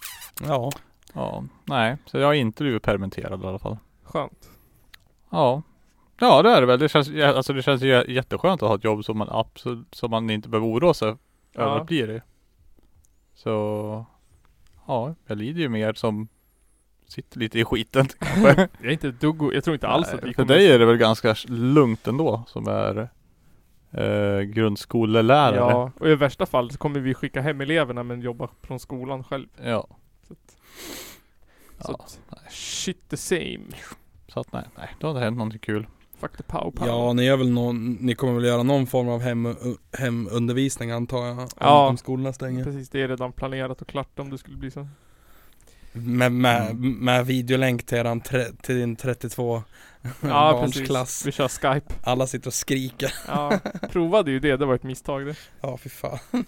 Speaker 1: Ja.
Speaker 3: Ja, nej. Så jag har inte blivit permitterad i alla fall.
Speaker 2: Skönt.
Speaker 3: Ja. Ja det är det väl. Det känns, ja, alltså det känns ju jä- jätteskönt att ha ett jobb som man absolut, som man inte behöver oroa sig
Speaker 2: Ja.
Speaker 3: över att bli det. Så ja, jag lider ju mer som sitter lite i skiten kanske.
Speaker 2: Jag är inte ett dugg, jag tror inte alls att vi
Speaker 3: Nej, För dig är det väl ganska lugnt ändå som är eh, grundskolelärare?
Speaker 2: Ja, och i värsta fall så kommer vi skicka hem eleverna men jobba från skolan själv.
Speaker 3: ja.
Speaker 2: Så att, så
Speaker 3: Ja.
Speaker 2: att, shit the same.
Speaker 3: Så att nej, nej, då har det hänt någonting kul.
Speaker 2: Fuck the pow pow.
Speaker 1: Ja, ni, är väl någon, ni kommer väl göra någon form av hem, hemundervisning antar jag? Om,
Speaker 2: Ja.
Speaker 1: om skolorna stänger.
Speaker 2: Precis, det är redan planerat och klart om det skulle bli så.
Speaker 1: Med, med,
Speaker 2: Mm.
Speaker 1: med videolänk till, eran tre, till din 32
Speaker 2: Ja
Speaker 1: barns
Speaker 2: precis,
Speaker 1: klass.
Speaker 2: vi kör skype.
Speaker 1: Alla sitter och skriker.
Speaker 2: Ja, provade ju det, det var ett misstag det.
Speaker 1: Ja, fy fan.
Speaker 2: Mm.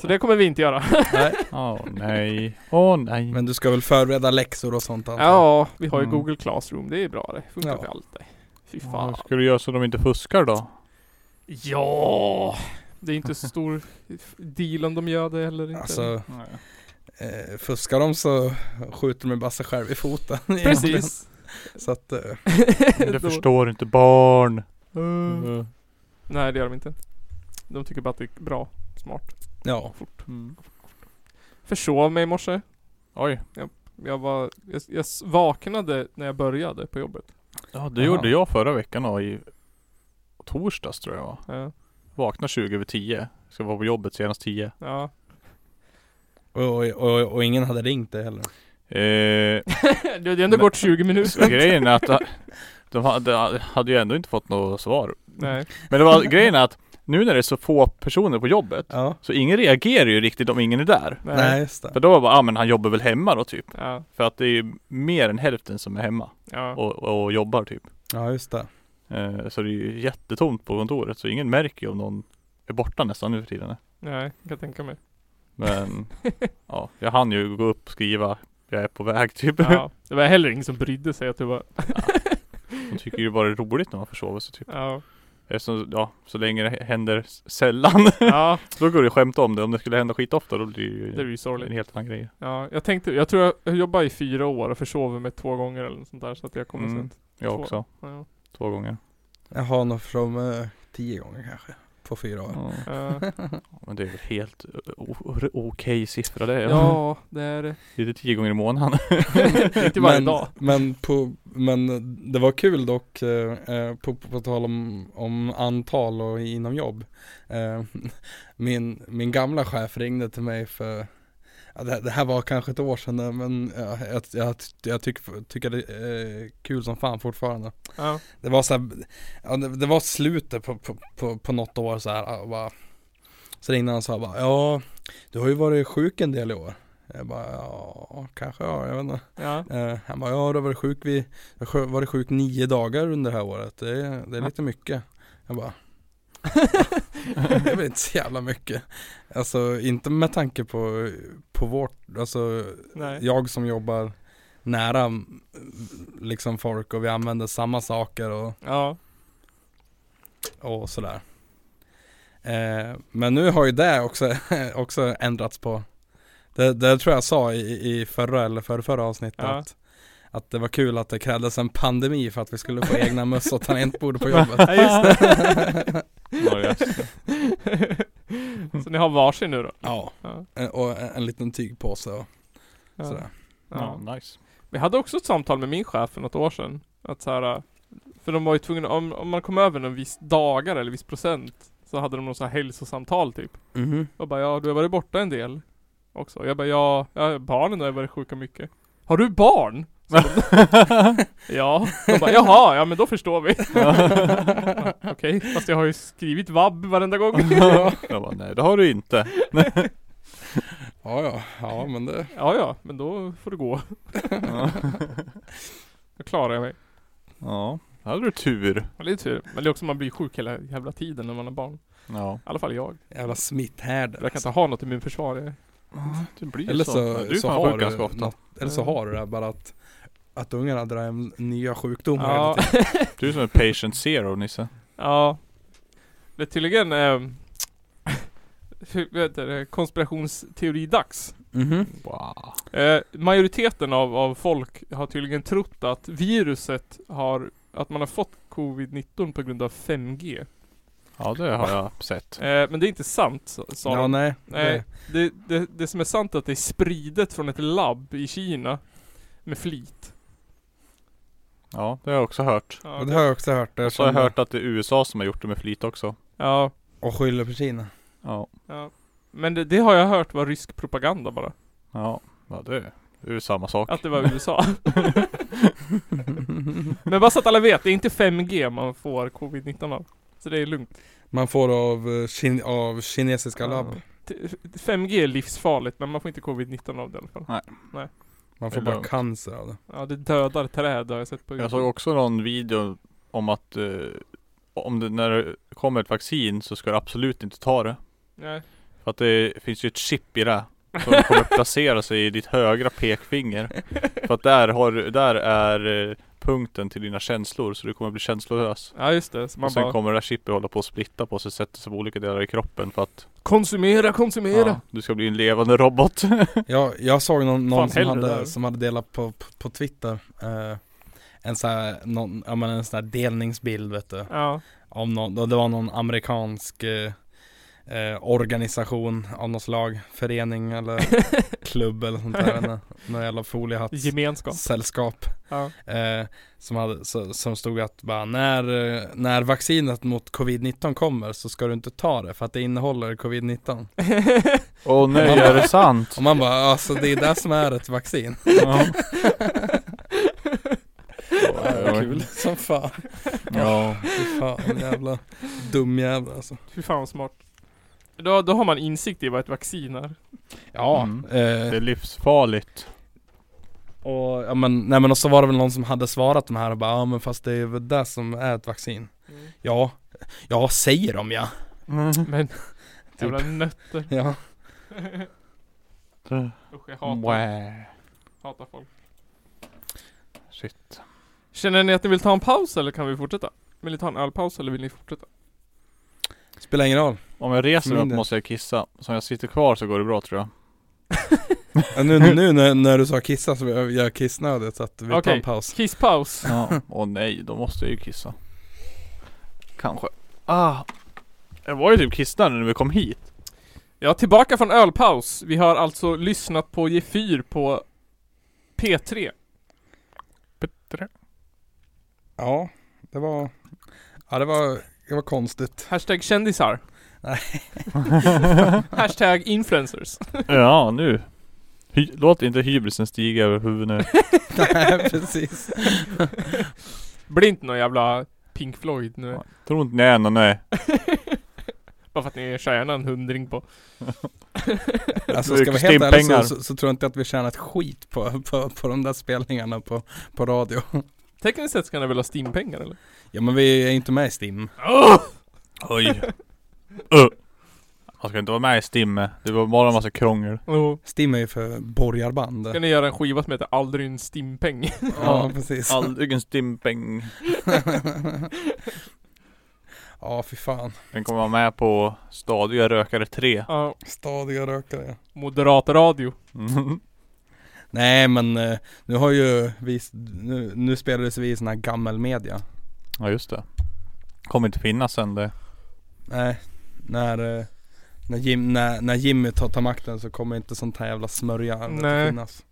Speaker 2: Så det kommer vi inte göra.
Speaker 1: Nej.
Speaker 3: Åh nej, åh nej.
Speaker 1: Men du ska väl förbereda läxor och sånt antar jag?
Speaker 2: Ja, vi har ju
Speaker 3: Mm.
Speaker 2: Google Classroom, det är bra det. Funkar
Speaker 1: Ja.
Speaker 2: för allt det. Fy
Speaker 3: Vad
Speaker 2: fan.
Speaker 3: ska du göra så de inte fuskar då?
Speaker 2: Ja! Det är inte så stor deal om de gör det eller inte.
Speaker 1: Alltså, eh, fuskar de så skjuter de bara sig själv i foten. egentligen.
Speaker 2: Precis.
Speaker 1: Så att, eh,
Speaker 3: Du
Speaker 2: Då-
Speaker 3: förstår inte barn.
Speaker 2: Mm. Nej det gör de inte. De tycker bara att det är bra, smart.
Speaker 1: ja.
Speaker 3: Mm.
Speaker 2: Försov mig i morse.
Speaker 3: Oj.
Speaker 2: Jag, var, jag, jag s- vaknade när jag började på jobbet.
Speaker 3: Ja, det
Speaker 1: Aha.
Speaker 3: gjorde jag förra veckan och i torsdags tror jag det var.
Speaker 2: Ja.
Speaker 3: Vaknar 20 över 10. Ska vara på jobbet senast 10.
Speaker 2: ja.
Speaker 1: Och, och, och, och ingen hade ringt det heller.
Speaker 3: Eh,
Speaker 2: Det hade ändå
Speaker 3: Men-
Speaker 2: gått 20
Speaker 3: så
Speaker 2: minuter.
Speaker 3: grejen är att de hade, hade ju ändå inte fått något svar.
Speaker 2: Nej.
Speaker 3: Men det var, grejen är att nu när det är så få personer på jobbet
Speaker 1: Ja.
Speaker 3: så ingen reagerar ju riktigt om ingen är där.
Speaker 2: Nej.
Speaker 1: Nej, just det.
Speaker 3: För då var det bara, ah, men han jobbar väl hemma då typ.
Speaker 2: Ja.
Speaker 3: För att det är ju mer än hälften som är hemma
Speaker 2: Ja.
Speaker 3: och, och jobbar typ.
Speaker 1: Ja, just det.
Speaker 3: Eh, så det är ju jättetomt på kontoret så ingen märker ju om någon är borta nästan nu för tiden.
Speaker 2: Nej, kan jag tänka mig.
Speaker 3: Men ja, jag hann ju gå upp och skriva jag är på väg typ.
Speaker 2: Ja. Det var heller ingen som brydde sig att du var...
Speaker 3: De tycker ju bara det är roligt när man försover sig typ.
Speaker 2: Ja.
Speaker 3: Eftersom, ja, så länge det händer s- sällan.
Speaker 2: Ja,
Speaker 3: då går det ju skämt om det. Om det skulle hända skitofta då blir det
Speaker 2: det är
Speaker 3: ju
Speaker 2: ju
Speaker 3: en
Speaker 2: sorgligt.
Speaker 3: helt annan grej.
Speaker 2: Ja, jag tänkte, jag tror jag, jag jobbade i fyra år och försover mig två gånger eller något sånt där så att jag kommer
Speaker 3: Mm.
Speaker 2: sent.
Speaker 3: Jag
Speaker 2: Två.
Speaker 3: också.
Speaker 2: Ja.
Speaker 3: Två gånger.
Speaker 1: Jag har nog från eh, tio gånger kanske. På fyra år.
Speaker 3: Ja.
Speaker 2: Ja.
Speaker 3: Men det är väl helt eh, o- o- okej siffra det. Ja. typ-
Speaker 2: ja, det är det.
Speaker 3: Det är tio gånger i månaden.
Speaker 2: Inte varje
Speaker 1: men,
Speaker 2: dag.
Speaker 1: Men, på, men det var kul dock, eh, eh, på, på, på tal om, om antal och inom jobb. Eh, min, min gamla chef ringde till mig för, ja, det, det här var kanske ett år sedan eh, men ja, jag, jag, jag tycker tycker det är eh, kul som fan fortfarande.
Speaker 2: Ja.
Speaker 1: Det var så här, ja, det, det var slutet på, på, på, på något år så här, och bara, Så ringde han och sa bara, ja du har ju varit sjuk en del i år. Jag bara, ja kanske ja, jag vet inte.
Speaker 2: Ja.
Speaker 1: Eh, han bara, ja du har varit sjuk, vid, jag har varit sjuk nio dagar under det här året. Det är, det är lite mycket. Jag bara, det är väl inte så jävla mycket. Alltså inte med tanke på, på vårt, alltså
Speaker 2: Nej.
Speaker 1: jag som jobbar nära mm, liksom folk och vi använder samma saker och
Speaker 2: Ja.
Speaker 1: och sådär. Eh, men nu har ju det också, också ändrats på. Det, det tror jag sa i, i förra eller förra, förra avsnittet.
Speaker 2: Ja.
Speaker 1: Att, att det var kul att det krävdes en pandemi för att vi skulle få egna möss och tangentbord på jobbet.
Speaker 2: Ja, just
Speaker 3: Ja, just det.
Speaker 2: det. så ni har varsin nu då?
Speaker 1: Ja,
Speaker 2: Ja.
Speaker 1: eh, och en, en liten tygpåse och
Speaker 2: Ja.
Speaker 1: sådär.
Speaker 2: Ja.
Speaker 3: Ja, nice.
Speaker 2: Vi hade också ett samtal med min chef för något år sedan. Att så här, äh, för de var ju tvungna, om, om man kom över en viss dagar eller viss procent så hade de någon sån här hälsosamtal typ.
Speaker 1: Mhm.
Speaker 2: Jag bara ja, du har varit borta en del också. Jag bara ja, ja barnen har ju varit sjuka mycket. Har du barn? Så de, ja. De bara jaha, ja men då förstår vi. Ja, Okej, fast jag har ju skrivit vab varenda gång.
Speaker 3: Jag bara, nej det har du inte.
Speaker 1: Ja, ja, ja men det.
Speaker 2: Ja, ja, men då får du gå. Då klarar jag mig.
Speaker 3: Ja, här hade du tur.
Speaker 2: Ja, det är tur. Men det är också man blir sjuk hela jävla tiden när man har barn. I
Speaker 3: Ja.
Speaker 2: alla fall jag.
Speaker 1: Jävla smitthärd.
Speaker 2: Jag kan inte ha något immunförsvar. Jag-
Speaker 3: Det blir
Speaker 1: Eller
Speaker 3: så.
Speaker 1: så,
Speaker 3: du är
Speaker 1: så
Speaker 3: fan
Speaker 1: har
Speaker 3: sjuk ganska
Speaker 1: du
Speaker 3: ofta.
Speaker 1: något, eller så har du det bara att, att ungarna drar hem nya sjukdomar hela
Speaker 2: Ja,
Speaker 1: tiden.
Speaker 3: Du är som en patient zero Nisse.
Speaker 2: ja. Det är tydligen ehm, hur heter det? konspirationsteori-dags.
Speaker 1: Mhm.
Speaker 3: Wow.
Speaker 2: Eh, majoriteten av, av folk har tydligen trott att viruset har, att man har fått covid-19 på grund av 5G.
Speaker 3: Ja det har jag sett.
Speaker 2: Eh, men det är inte sant, sa sa
Speaker 1: Ja
Speaker 2: de.
Speaker 1: nej.
Speaker 2: Nej,
Speaker 1: Det,
Speaker 2: det, det, det som är sant är att det är spridet från ett labb i Kina. Med flit.
Speaker 3: Ja det har jag också hört.
Speaker 2: Ja,
Speaker 1: och det har jag också hört. eh, Det
Speaker 3: Och så har jag hört att det är USA som har gjort det med flit också.
Speaker 2: ja,
Speaker 1: Och skyller på Kina.
Speaker 3: Ja.
Speaker 2: ja. Men det, det har jag hört var rysk propaganda bara.
Speaker 3: Ja. Ja det är det är ju samma sak.
Speaker 2: Att det var USA. Men bara så att alla vet, det är inte 5G man får covid-19 av. Så det är lugnt.
Speaker 1: Man får av, eh, kin- av kinesiska labb.
Speaker 2: Ja. T- 5G är livsfarligt men man får inte covid-19 av det i alla fall.
Speaker 1: Man får
Speaker 3: Det är
Speaker 1: bara
Speaker 3: lugnt.
Speaker 1: cancer av det.
Speaker 2: Ja det dödar träd har jag sett på
Speaker 3: Jag såg också någon video om att eh, om det, när det kommer ett vaccin så ska du absolut inte ta det.
Speaker 2: Nej.
Speaker 3: För att det finns ju ett chip i det. Som kommer att placera sig i ditt högra pekfinger. För att där, har, du- där är eh, punkten till dina känslor. Så du kommer bli känslolös.
Speaker 2: Ja just det, så man
Speaker 3: och sen
Speaker 2: bara
Speaker 3: kommer det här chippet hålla på att splitta på sig. Sätta sig på olika delar i kroppen. För att
Speaker 2: Konsumera, konsumera!
Speaker 3: ja, du ska bli en levande robot.
Speaker 1: Jag, jag såg någon, någon
Speaker 2: Fan,
Speaker 1: som,
Speaker 2: hellre där.
Speaker 1: hade, som hade delat på, på, på Twitter eh, En sån här, någon, ja, men en sån här delningsbild vet du
Speaker 2: Ja,
Speaker 1: Om någon, då det var någon amerikansk eh, eh, organisation av något slag Förening eller klubb eller sånt där jag vet inte. Någon jävla foliehattssällskap
Speaker 2: gemenskap.
Speaker 1: Sällskap
Speaker 2: Ja.
Speaker 1: eh, som, hade, så, som stod att bara när, eh, när vaccinet mot covid-19 kommer så ska du inte ta det för att det innehåller covid-19
Speaker 3: Åh nej, är det sant?
Speaker 1: Och man bara alltså det är det som är ett vaccin
Speaker 3: Ja.
Speaker 1: Kul som fan
Speaker 3: Ja.
Speaker 1: Fy Fan jävla dum jävla alltså.
Speaker 2: Fy fan vad smart. Då, då har man insikt i vad ett vaccin är.
Speaker 1: Ja,
Speaker 3: Mm. Det
Speaker 1: eh,
Speaker 3: är livsfarligt.
Speaker 1: och ja, men, nej, men och så var det väl någon som hade svarat de här och bara ja men fast det är väl det som är ett vaccin. Ja, ja säger de ja.
Speaker 2: Men,
Speaker 3: Typ.
Speaker 2: jävla nötter.
Speaker 1: Ja,
Speaker 2: Usch jag hatar,
Speaker 3: Wow.
Speaker 2: hatar folk.
Speaker 3: Shit.
Speaker 2: Känner ni att ni vill ta en paus eller kan vi fortsätta? Vill ni ta en ölpaus eller vill ni fortsätta?
Speaker 1: spelar ingen roll.
Speaker 3: Om jag reser mig
Speaker 1: Mindre.
Speaker 3: upp måste jag kissa. Så om jag sitter kvar så går det bra tror jag.
Speaker 1: Ja, Nu, nu när, när du sa kissa så blev jag kissnödig så att vi tar
Speaker 2: Okej.
Speaker 1: en paus.
Speaker 2: Kisspaus!
Speaker 3: Ja. Åh nej, då måste jag ju kissa. Kanske. Ah. Jag var ju typ kissnödig när vi kom hit.
Speaker 2: Ja, tillbaka från ölpaus. Vi har alltså lyssnat på G4 på P3.
Speaker 3: Bättre.
Speaker 1: Ja, det var, ja det var, det var konstigt.
Speaker 2: Hashtag kändisar.
Speaker 1: Nej.
Speaker 2: Hashtag influencers.
Speaker 3: Ja, nu. Hy- Låt inte hybrisen stiga över huvudet nu.
Speaker 1: nej precis.
Speaker 2: Blir inte någon jävla Pink Floyd nu.
Speaker 3: Ja. Tror inte ni är någon, nej.
Speaker 2: Bara för att ni tjänar en hundring på.
Speaker 1: Alltså ska vi helt ärlig
Speaker 3: Stimpengar.
Speaker 1: så, så, så tror jag inte att vi tjänat skit på, på, på de där spelningarna på, på radio.
Speaker 2: Tekniskt sett ska ni väl ha Steam-pengar eller?
Speaker 1: Ja men vi är inte med i STIM.
Speaker 3: Oj. Ö. Man ska inte vara med i Stimme. Det var bara en massa krångel.
Speaker 2: Jo.
Speaker 1: STIM är ju för borgarband.
Speaker 2: Ska ni göra en skiva som heter Aldrig en Steam-peng?
Speaker 1: Ja, precis.
Speaker 3: Aldrig en stimpeng.
Speaker 1: ja, fy fan.
Speaker 3: Den kommer vara med på Stadiga Rökare 3.
Speaker 2: Ja,
Speaker 1: Stadiga rökare.
Speaker 2: moderat radio.
Speaker 3: Mm.
Speaker 1: Nej, men eh, nu har ju vi, nu, nu spelades vi i sån här gammal media.
Speaker 3: Ja just det. Kommer inte finnas sen det.
Speaker 1: Nej, när, eh, när, Jim, när, när Jimmy tar, tar makten så kommer inte sånt här jävla smörja
Speaker 2: Nej.
Speaker 1: att finnas.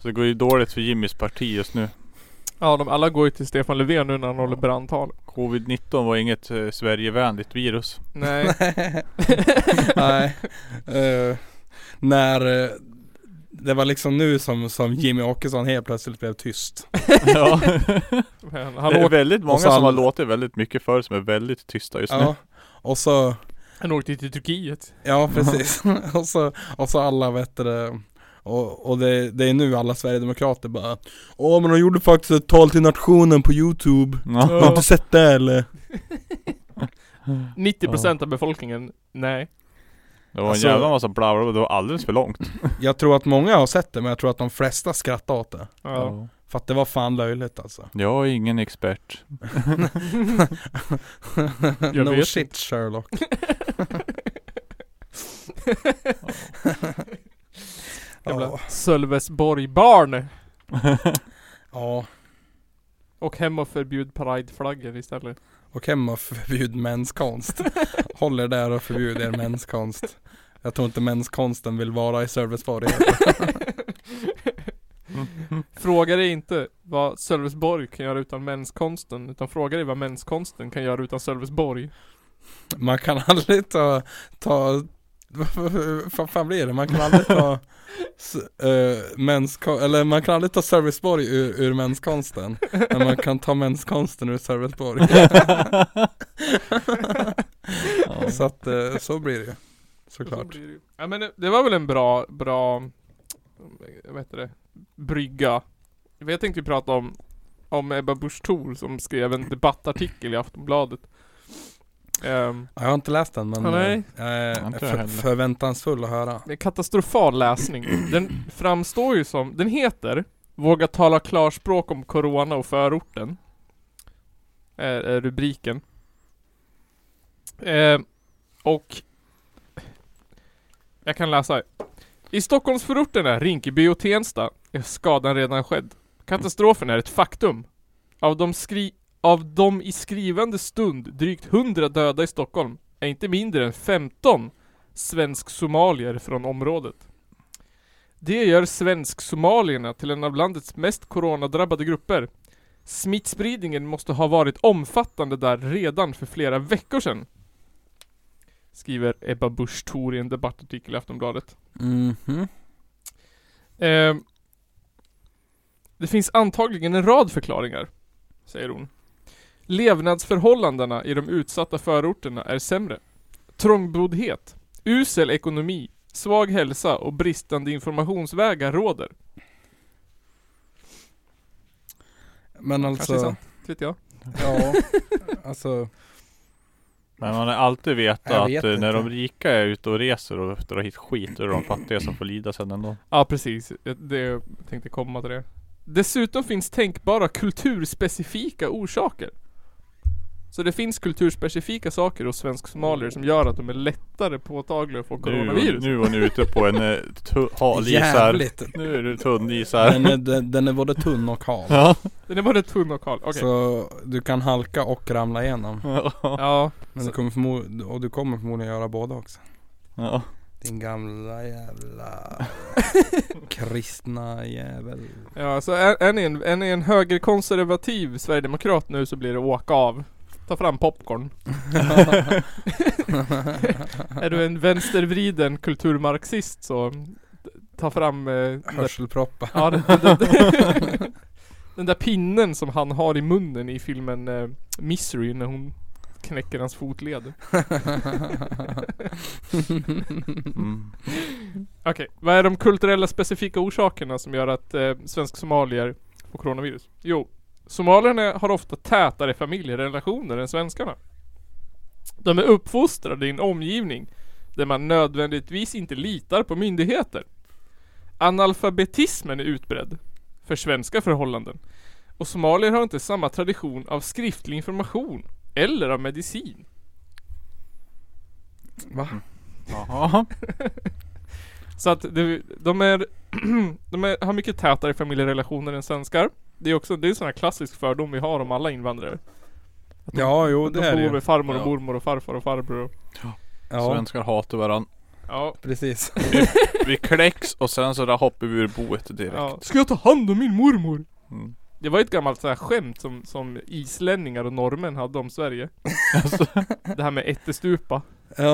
Speaker 3: Så det går ju dåligt för Jimmys parti just nu.
Speaker 2: Ja, de alla går ju till Stefan Löfven nu när han håller brandtal.
Speaker 3: Covid-19 var inget eh, Sverigevänligt virus.
Speaker 2: Nej.
Speaker 1: Nej. Eh, när eh, det var liksom nu som, som Jimmy Åkesson helt plötsligt blev tyst.
Speaker 3: ja.
Speaker 2: Men
Speaker 3: Det
Speaker 2: han,
Speaker 3: är
Speaker 2: åkte,
Speaker 3: väldigt många
Speaker 1: och så
Speaker 3: som har
Speaker 1: all-
Speaker 3: låtit väldigt mycket för som är väldigt tysta just nu.
Speaker 1: Ja, och så
Speaker 2: han åkte till Turkiet.
Speaker 1: Ja precis, och, så, och så alla vet det och, och det, det är nu alla Sverigedemokrater bara Åh men de gjorde faktiskt ett tal till nationen på youtube Har du
Speaker 3: Ja.
Speaker 1: inte sett det eller?
Speaker 2: 90% av befolkningen, nej.
Speaker 3: Det var en
Speaker 1: Alltså-
Speaker 3: jävla massa bla bla bla. Det var alldeles för långt.
Speaker 1: Jag tror att många har sett det men jag tror att de flesta skrattar åt det
Speaker 2: Ja.
Speaker 1: För att det var fan löjligt alltså
Speaker 3: Jag är ingen expert.
Speaker 2: Jag
Speaker 1: No
Speaker 2: vet
Speaker 1: shit Sherlock
Speaker 2: Jävla
Speaker 1: Ja,
Speaker 2: Sölvesborg-barn.
Speaker 1: ja,
Speaker 2: Och hem och förbjud prideflaggor istället.
Speaker 1: Åk hem och förbjud menskonst. Håll er där och förbjud er menskonst. Jag tror inte menskonsten vill vara i Sölvesborg.
Speaker 2: Fråga dig inte vad Sölvesborg kan göra utan menskonsten, utan fråga dig vad menskonsten kan göra utan Sölvesborg.
Speaker 1: Man kan aldrig ta, ta vad fan blir det? Man kan aldrig ta s- eh, mänsko- eller man kan aldrig ta Sölvesborg ur, ur mänskonsten Men man kan ta mänskonsten ur Sölvesborg Så att eh, så blir det ju
Speaker 2: Så
Speaker 1: Såklart
Speaker 2: blir det ju. Ja men det- det var väl en bra, bra, vad heter det, brygga. Jag tänkte ju prata om, om Ebba Busch Thor som skrev en debattartikel i Aftonbladet. Ehm,
Speaker 1: Ja, Jag har inte läst den men
Speaker 2: Ja, nej.
Speaker 1: eh, jag är
Speaker 3: inte jag
Speaker 1: för,
Speaker 3: heller.
Speaker 1: förväntansfull att höra
Speaker 2: Det är katastrofal läsning. Den framstår ju som, den heter Våga tala klarspråk om Corona och förorten. Är, är rubriken. Eh, och jag kan läsa. här. I Stockholmsförorterna Rinkeby och Tensta är skadan redan skedd. Katastrofen är ett faktum. Av de, skri- av de i skrivande stund drygt 100 döda i Stockholm är inte mindre än 15 svensk-somalier från området. Det gör svensk-somalierna till en av landets mest coronadrabbade grupper. Smittspridningen måste ha varit omfattande där redan för flera veckor sedan. Skriver Ebba Busch Thor i en debattartikel i Aftonbladet.
Speaker 1: Mhm.
Speaker 2: Ehm, det finns antagligen en rad förklaringar, säger hon. Levnadsförhållandena i de utsatta förorterna är sämre. Trångboddhet, usel ekonomi, svag hälsa och bristande informationsvägar råder.
Speaker 1: Men
Speaker 2: Kanske är
Speaker 1: alltså,
Speaker 2: sant, vet jag.
Speaker 1: ja Alltså,
Speaker 3: Men man har alltid vetat
Speaker 1: Jag vet
Speaker 3: att eh, när de
Speaker 1: inte.
Speaker 3: rika är ute och reser och drar hit skit, då är det de fattiga som får lida sen ändå.
Speaker 2: Ja, precis. Jag- Det, jag tänkte komma till det. Dessutom finns tänkbara kulturspecifika orsaker. Så det finns kulturspecifika saker hos svensk-somalier som gör att de är lättare påtagliga att få
Speaker 3: Nu,
Speaker 2: coronavirus.
Speaker 3: nu är ni ute på en eh, tu- hal is här.
Speaker 1: jävligt eh,
Speaker 3: Nu är du tunn is här.
Speaker 1: den är, den, den är både tunn och hal
Speaker 3: Ja.
Speaker 2: Den är både tunn och kal. Okej.
Speaker 1: Så du kan halka och ramla igenom
Speaker 2: Ja.
Speaker 1: Men du kommer, förmo- och du kommer förmodligen göra båda också
Speaker 3: Ja.
Speaker 1: Din gamla jävla kristna jävel
Speaker 2: ja, så är, är, ni en, är ni en högerkonservativ sverigedemokrat nu så blir det åka av. Ta fram popcorn. Är du en vänstervriden kulturmarxist så ta fram eh, den där
Speaker 1: Hörselproppar
Speaker 2: Ja, den, den, den, den där pinnen som han har i munnen i filmen eh, Misery när hon knäcker hans fotled.
Speaker 3: Mm.
Speaker 2: Okej, vad är de kulturella specifika orsakerna som gör att eh, svensk-somalier får coronavirus? Jo, somalierna har ofta tätare familjerelationer än svenskarna. De är uppfostrade i en omgivning där man nödvändigtvis inte litar på myndigheter. Analfabetismen är utbredd för svenska förhållanden och somalier har inte samma tradition av skriftlig information eller av medicin.
Speaker 1: Va?
Speaker 3: Jaha.
Speaker 2: Så att det, de är, de är, har mycket tätare familjerelationer än svenskar. Det är också, det är en sån här klassisk fördom vi har om alla invandrare.
Speaker 1: Ja jo
Speaker 2: De
Speaker 1: det är det
Speaker 2: bor
Speaker 1: ju
Speaker 2: med farmor och
Speaker 3: Ja.
Speaker 2: mormor och farfar och farbror och,
Speaker 1: Ja
Speaker 3: Svenskar hatar varandra.
Speaker 2: ja,
Speaker 1: precis
Speaker 3: Vi kläcks och sen så där hoppar vi ur boet
Speaker 2: ja.
Speaker 3: direkt.
Speaker 2: Ska jag ta hand om min mormor?
Speaker 3: Mm.
Speaker 2: Det var ju ett gammalt så här skämt som, som islänningar och norrmän hade om Sverige. Alltså. det här med ättestupa.
Speaker 1: Ja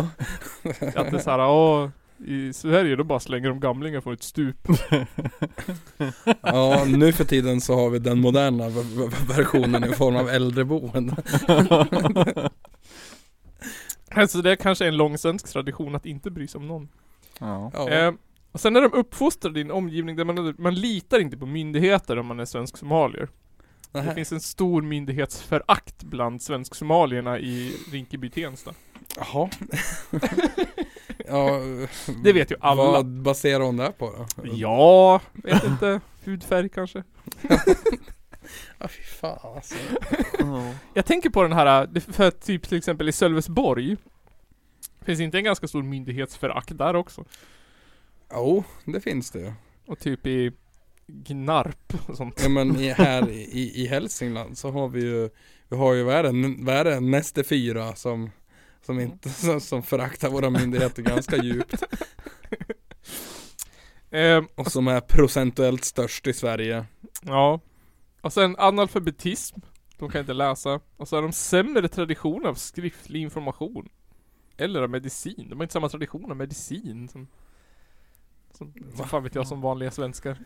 Speaker 2: Att det är såhär, åh, i Sverige då bara slänger de gamlingar från ett stup.
Speaker 1: Ja nu för tiden så har vi den moderna v- v- versionen i form av äldreboende
Speaker 2: Alltså det är kanske är en lång svensk tradition att inte bry sig om någon.
Speaker 3: Ja.
Speaker 1: Ja
Speaker 2: Eh, och sen är de uppfostrade i en omgivning där man, man litar inte på myndigheter om man är svensk somalier. Det
Speaker 1: Nähä.
Speaker 2: finns en stor myndighetsförakt bland svensk-somalierna i Rinkeby-Tensta.
Speaker 1: Jaha Ja
Speaker 2: Det vet ju alla.
Speaker 1: Vad baserar hon det här på då?
Speaker 2: Ja, vet inte. Hudfärg kanske.
Speaker 1: Ja, fy fan alltså
Speaker 2: Jag tänker på den här, det- för att typ till exempel i Sölvesborg Finns inte en ganska stor myndighetsförakt där också?
Speaker 1: Jo, det finns det ju.
Speaker 2: Och typ i Gnarp och sånt.
Speaker 1: Mm. Ja, men i, här i, i Hälsingland så har vi ju, vi Du har ju, vad är det, n- vad är det näste fyra som som, inte, som, som föraktar våra myndigheter ganska djupt
Speaker 2: Ehm,
Speaker 1: och som är procentuellt störst i Sverige.
Speaker 2: ja. Och sen analfabetism. De kan inte läsa. Och så har de sämre tradition av skriftlig information. Eller av medicin. De har inte samma tradition av medicin som... Som, som fan vet jag som vanliga svenskar.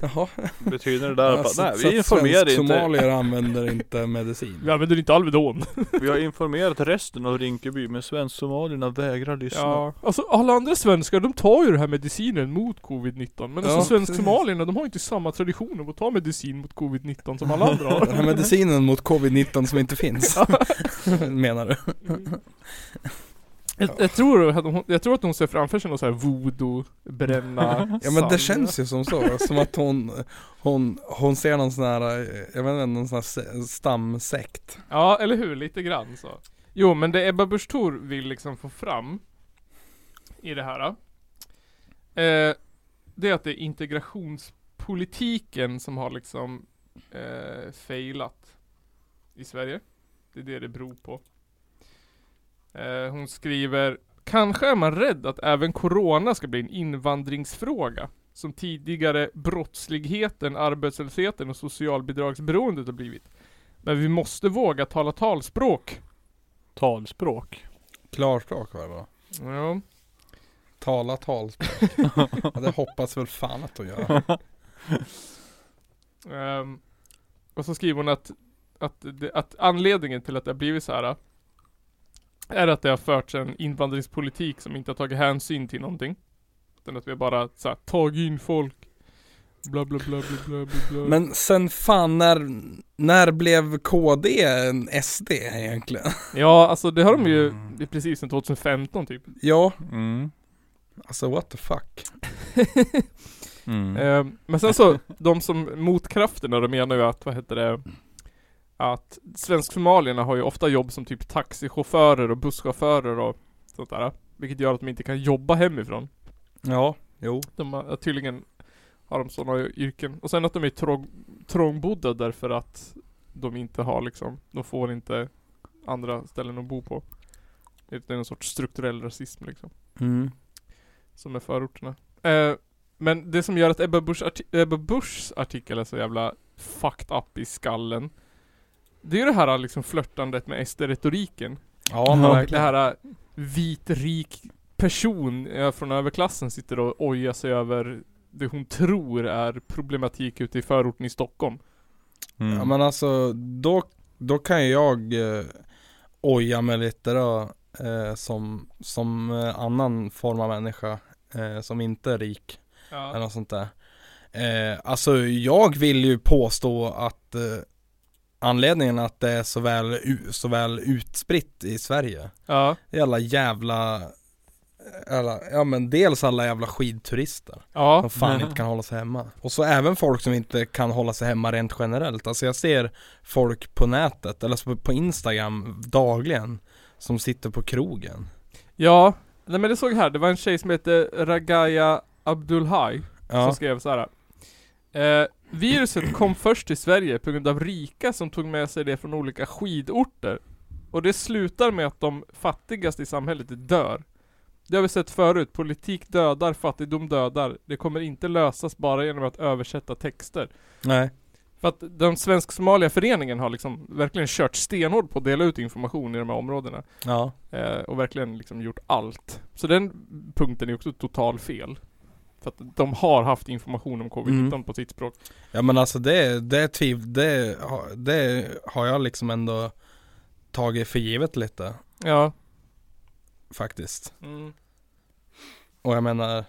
Speaker 1: Jaha.
Speaker 3: Betyder det där
Speaker 1: Ja,
Speaker 3: att
Speaker 1: så-
Speaker 3: nej,
Speaker 1: så att
Speaker 3: vi informerar inte.
Speaker 1: somalier använder inte medicin.
Speaker 2: Vi använder inte Alvedon.
Speaker 3: Vi har informerat resten av Rinkeby men svensk-somalierna vägrar lyssna.
Speaker 2: Ja. Alltså alla andra svenskar de tar ju den här medicinen mot covid-19. Men
Speaker 1: Ja,
Speaker 2: alltså svensk-somalierna
Speaker 1: precis.
Speaker 2: de har inte samma tradition av att ta medicin mot covid-19 som alla andra har.
Speaker 1: Den här medicinen mot covid-19 som inte finns. Menar du?
Speaker 2: Jag, jag, tror att hon, jag tror att hon ser framför sig någon sån här voodoo, bränna,
Speaker 1: Ja men det
Speaker 2: sand.
Speaker 1: känns ju som så, som att hon Hon, hon ser någon sån här, eh, jag vet inte, någon sån här se- stamsekt
Speaker 2: Ja, eller hur? Lite grann så. Jo, men det Ebba Busch Thor vill liksom få fram i det här. Eh, det är att det är integrationspolitiken som har liksom eh, failat i Sverige. Det är det det beror på. Eh, hon skriver Kanske är man rädd att även Corona ska bli en invandringsfråga. Som tidigare brottsligheten, arbetslösheten och socialbidragsberoendet har blivit. Men vi måste våga tala talspråk.
Speaker 3: Talspråk.
Speaker 1: Klarspråk var det va?
Speaker 2: Ja.
Speaker 1: Tala talspråk ja, Det hoppas väl fan att hon gör
Speaker 2: ehm, och så skriver hon att, att, det, att anledningen till att det har blivit så här äh, är att det har förts en invandringspolitik som inte har tagit hänsyn till någonting. Utan att vi har bara så här, tagit in folk. Bla bla bla bla bla bla. bla.
Speaker 1: Men sen fan när, när blev KD en SD egentligen?
Speaker 2: Ja, alltså det har de ju det är precis sedan 2015 typ.
Speaker 1: Ja,
Speaker 3: Mm.
Speaker 1: alltså what the fuck
Speaker 3: Mm.
Speaker 1: Eh,
Speaker 2: Ehm, men sen så, de som motkrafterna, de menar ju att, vad heter det, att svensk-somalierna har ju ofta jobb som typ taxichaufförer och busschaufförer och sånt där. Vilket gör att de inte kan jobba hemifrån.
Speaker 1: Ja, jo
Speaker 2: De har, tydligen har de sådana yrken. Och sen att de är trång, trångbodda därför att de inte har liksom, de får inte andra ställen att bo på. Det är en sorts strukturell rasism liksom.
Speaker 1: mm.
Speaker 2: Som är förorterna. Eh, men det som gör att Ebba, Busch arti- Ebba Buschs artikel är så jävla fucked up i skallen. Det är ju det här liksom flörtandet med SD-retoriken.
Speaker 1: Ja,
Speaker 3: Ja,
Speaker 2: Det här eh, vit, rik person eh, från överklassen sitter och ojar sig över det hon tror är problematik ute i förorten i Stockholm.
Speaker 3: Mm.
Speaker 1: Ja men alltså då, då kan ju jag eh, oja mig lite då eh, som, som eh, annan form av människa eh, som inte är rik eller något sånt där. Eh, alltså jag vill ju påstå att eh, anledningen att det är så väl, u- så väl utspritt i Sverige
Speaker 2: Ja.
Speaker 1: det är alla jävla eh, alla, ja men dels alla jävla skidturister
Speaker 2: Ja.
Speaker 1: som fan inte kan hålla sig hemma. Och så även folk som inte kan hålla sig hemma rent generellt. Alltså jag ser folk på nätet, eller alltså på Instagram dagligen, som sitter på krogen.
Speaker 2: Ja. Nej men det såg jag här, det var en tjej som hette Ragaya Abdulhaj. som
Speaker 1: Ja,
Speaker 2: skrev så här. Eh, viruset kom först till Sverige på grund av rika som tog med sig det från olika skidorter. Och det slutar med att de fattigaste i samhället dör. Det har vi sett förut, politik dödar, fattigdom dödar. Det kommer inte lösas bara genom att översätta texter.
Speaker 1: nej.
Speaker 2: För att den svensk-somaliska föreningen har liksom verkligen kört stenhårt på att dela ut information i de här områdena.
Speaker 1: Ja.
Speaker 2: Eh, och verkligen liksom gjort allt. Så den punkten är också total fel. För att de har haft information om covid-19
Speaker 1: Mm.
Speaker 2: på sitt språk.
Speaker 1: Ja men alltså det, det tviv, det, har- det har jag liksom ändå tagit för givet lite
Speaker 2: Ja.
Speaker 1: faktiskt.
Speaker 2: Mm.
Speaker 1: Och jag menar,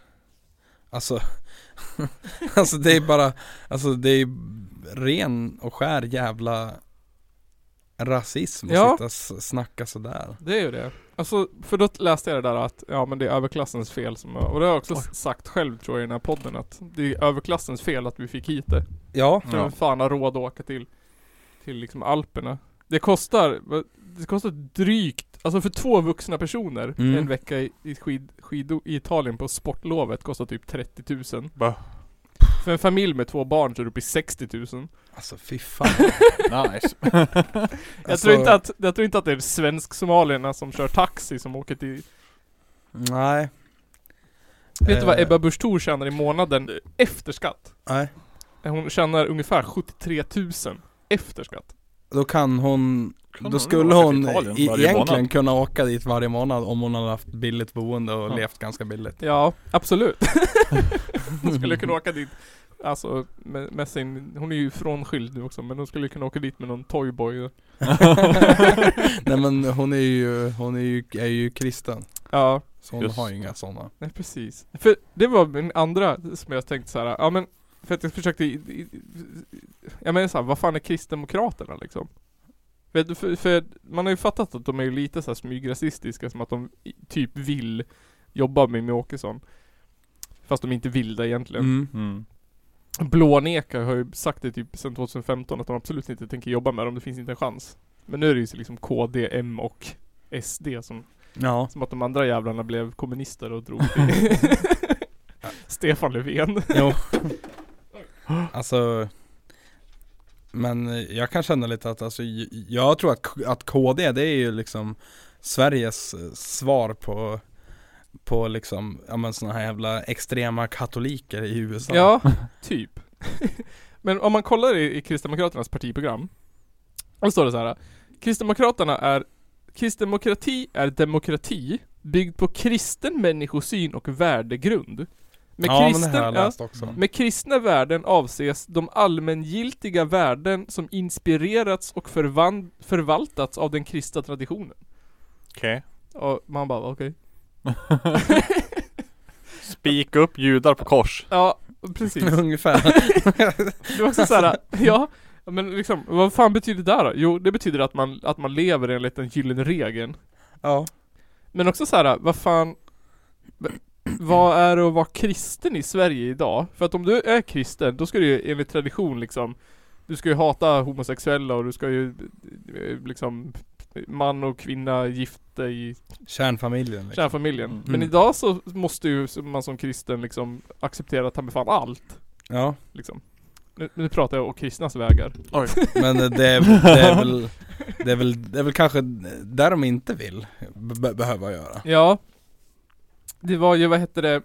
Speaker 1: alltså, alltså det är bara, alltså det är ren och skär jävla rasism att
Speaker 2: Ja.
Speaker 1: sitta och s- snacka sådär.
Speaker 2: Det är ju det. Alltså, för då läste jag det där att, ja men det är överklassens fel som, och det har jag också sagt själv tror jag i den här podden att det är överklassens fel att vi fick hit det.
Speaker 1: Ja,
Speaker 2: För vem fan har råd att åka till, till liksom Alperna? Det kostar, det kostar drygt, alltså för två vuxna personer
Speaker 1: Mm.
Speaker 2: en vecka i, i skid, skid, i Italien på sportlovet kostar typ 30 000.
Speaker 3: Bah.
Speaker 2: För en familj med två barn så är det uppe i 60 000 Jag
Speaker 1: Alltså fy fan.
Speaker 3: Nice.
Speaker 1: Alltså,
Speaker 2: tror inte att, jag tror inte att det är svensk-somalierna som kör taxi som åker till
Speaker 1: Nej.
Speaker 2: Vet du vad
Speaker 1: Eh,
Speaker 2: Ebba Busch Thor tjänar i månaden efter skatt?
Speaker 1: Nej.
Speaker 2: Hon tjänar ungefär 73 000 efter skatt.
Speaker 1: Då kan hon,
Speaker 3: Kan
Speaker 1: då
Speaker 3: hon
Speaker 1: skulle
Speaker 3: åka
Speaker 1: hon
Speaker 3: till Italien
Speaker 1: i,
Speaker 3: varje
Speaker 1: egentligen
Speaker 3: månad?
Speaker 1: kunna åka dit varje månad om hon hade haft billigt boende och
Speaker 3: Ja.
Speaker 1: levt ganska billigt.
Speaker 2: Ja, absolut. hon skulle kunna åka dit, alltså med, med sin, hon är ju frånskild nu också, men hon skulle kunna åka dit med någon toyboy.
Speaker 1: Nej men hon är ju, hon är ju, är ju kristen.
Speaker 2: Ja,
Speaker 1: Så hon
Speaker 3: Just.
Speaker 1: har ju inga sådana.
Speaker 2: nej precis. För det var min andra som jag tänkte så här. ja men, för att jag försökte, i- i- jag menar såhär, vad fan är Kristdemokraterna liksom? Vet du, för, för man har ju fattat att de är ju lite så här smygrasistiska, som att de i- typ vill jobba med Jimmie Åkesson. Fast de inte vill det egentligen.
Speaker 1: Mm.
Speaker 3: Mm.
Speaker 2: Blåneka har ju sagt det typ sedan 2015 att de absolut inte tänker jobba med dem, det finns inte en chans. Men nu är det ju liksom KD, M och SD som,
Speaker 1: Ja.
Speaker 2: som att de andra jävlarna blev kommunister och drog till Stefan Löfven.
Speaker 1: Jo. alltså Men eh, jag kan känna lite att alltså, j- jag tror att, K- att KD det är ju liksom Sveriges eh, svar på på liksom, ja men såna här jävla extrema katoliker i USA
Speaker 2: Ja, typ. Men om man kollar i, i Kristdemokraternas partiprogram, då står det så här. Kristdemokraterna är Kristdemokrati är demokrati byggd på kristen människosyn och värdegrund. Med
Speaker 1: ja men det
Speaker 2: kristen,
Speaker 1: här alltså. har jag
Speaker 2: ja,
Speaker 1: läst också
Speaker 2: Med kristna värden avses de allmängiltiga värden som inspirerats och förvan- förvaltats av den kristna traditionen.
Speaker 3: Okej.
Speaker 2: Och man bara, okej.
Speaker 3: Spika upp judar på kors.
Speaker 2: Ja, precis.
Speaker 3: Mm.
Speaker 1: Ungefär
Speaker 2: Det var också såhär, ja. Men liksom, vad fan betyder det där då? Jo, det betyder att man, att man lever enligt den gyllene regeln.
Speaker 1: Ja
Speaker 2: Men också såhär, vad fan Vad är det att vara kristen i Sverige idag? För att om du är kristen, då ska du ju enligt tradition liksom Du ska ju hata homosexuella och du ska ju eh, liksom Man och kvinna gifta i
Speaker 1: Kärnfamiljen liksom.
Speaker 2: kärnfamiljen
Speaker 3: Mm.
Speaker 2: Men idag så måste ju man som kristen liksom acceptera ta med fan allt
Speaker 1: Ja
Speaker 2: liksom nu, nu pratar jag om kristnas vägar
Speaker 3: Oj.
Speaker 1: men eh, det är, det är väl det är väl, det är väl kanske där de inte vill be- behöva göra
Speaker 2: Ja Det var ju, vad hette det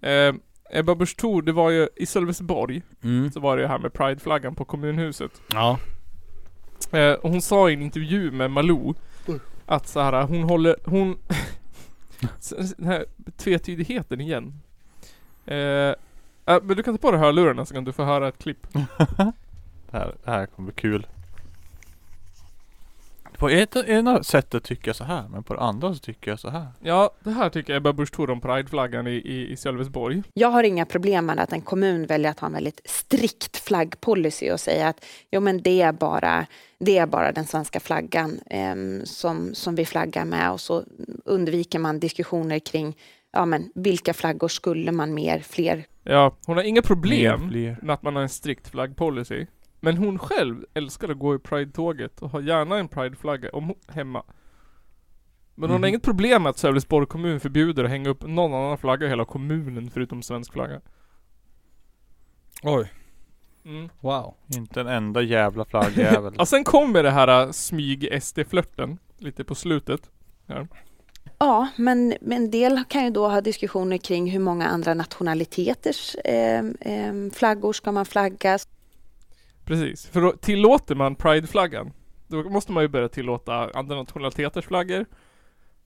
Speaker 2: eh, Ebba Busch Thor, det var ju i Sölvesborg
Speaker 1: mm.
Speaker 2: Så var det ju här med prideflaggan på kommunhuset
Speaker 1: Ja
Speaker 2: Eh, och hon sa i en intervju med Malou att så här, hon håller, hon... S- s- den här tvetydigheten igen. Eh, eh, men du kan ta på dig hörlurarna så kan du få höra ett klipp.
Speaker 3: Det här, det här kommer bli kul. På ett, ena sättet tycker jag så här, men på det andra så tycker jag så här.
Speaker 2: Ja, det här tycker jag Ebba Busch Thor om prideflaggan i, i, i Sölvesborg.
Speaker 5: Jag har inga problem med att en kommun väljer att ha en väldigt strikt flaggpolicy och säga att jo, men det, är bara, det är bara den svenska flaggan em, som, som vi flaggar med och så undviker man diskussioner kring ja, men, vilka flaggor skulle man mer, fler
Speaker 2: Ja, hon har inga
Speaker 3: Mer,
Speaker 2: problem
Speaker 3: fler.
Speaker 2: med att man har en strikt flaggpolicy. Men hon själv älskar att gå i pride-tåget och har gärna en prideflagga om hon- hemma. Men hon har
Speaker 1: Mhm.
Speaker 2: inget problem med att Sölvesborg kommun förbjuder att hänga upp någon annan flagga i hela kommunen förutom svensk flagga.
Speaker 1: Oj,
Speaker 2: Mm.
Speaker 1: wow
Speaker 3: Inte en enda jävla flaggjävel.
Speaker 2: Och sen kommer det här smyg-SD-flörten lite på slutet.
Speaker 5: Ja, men, men en del kan ju då ha diskussioner kring hur många andra nationaliteters eh, eh, flaggor ska man flagga?
Speaker 2: Precis. För då tillåter man prideflaggan, då måste man ju börja tillåta andra nationaliteters flaggor.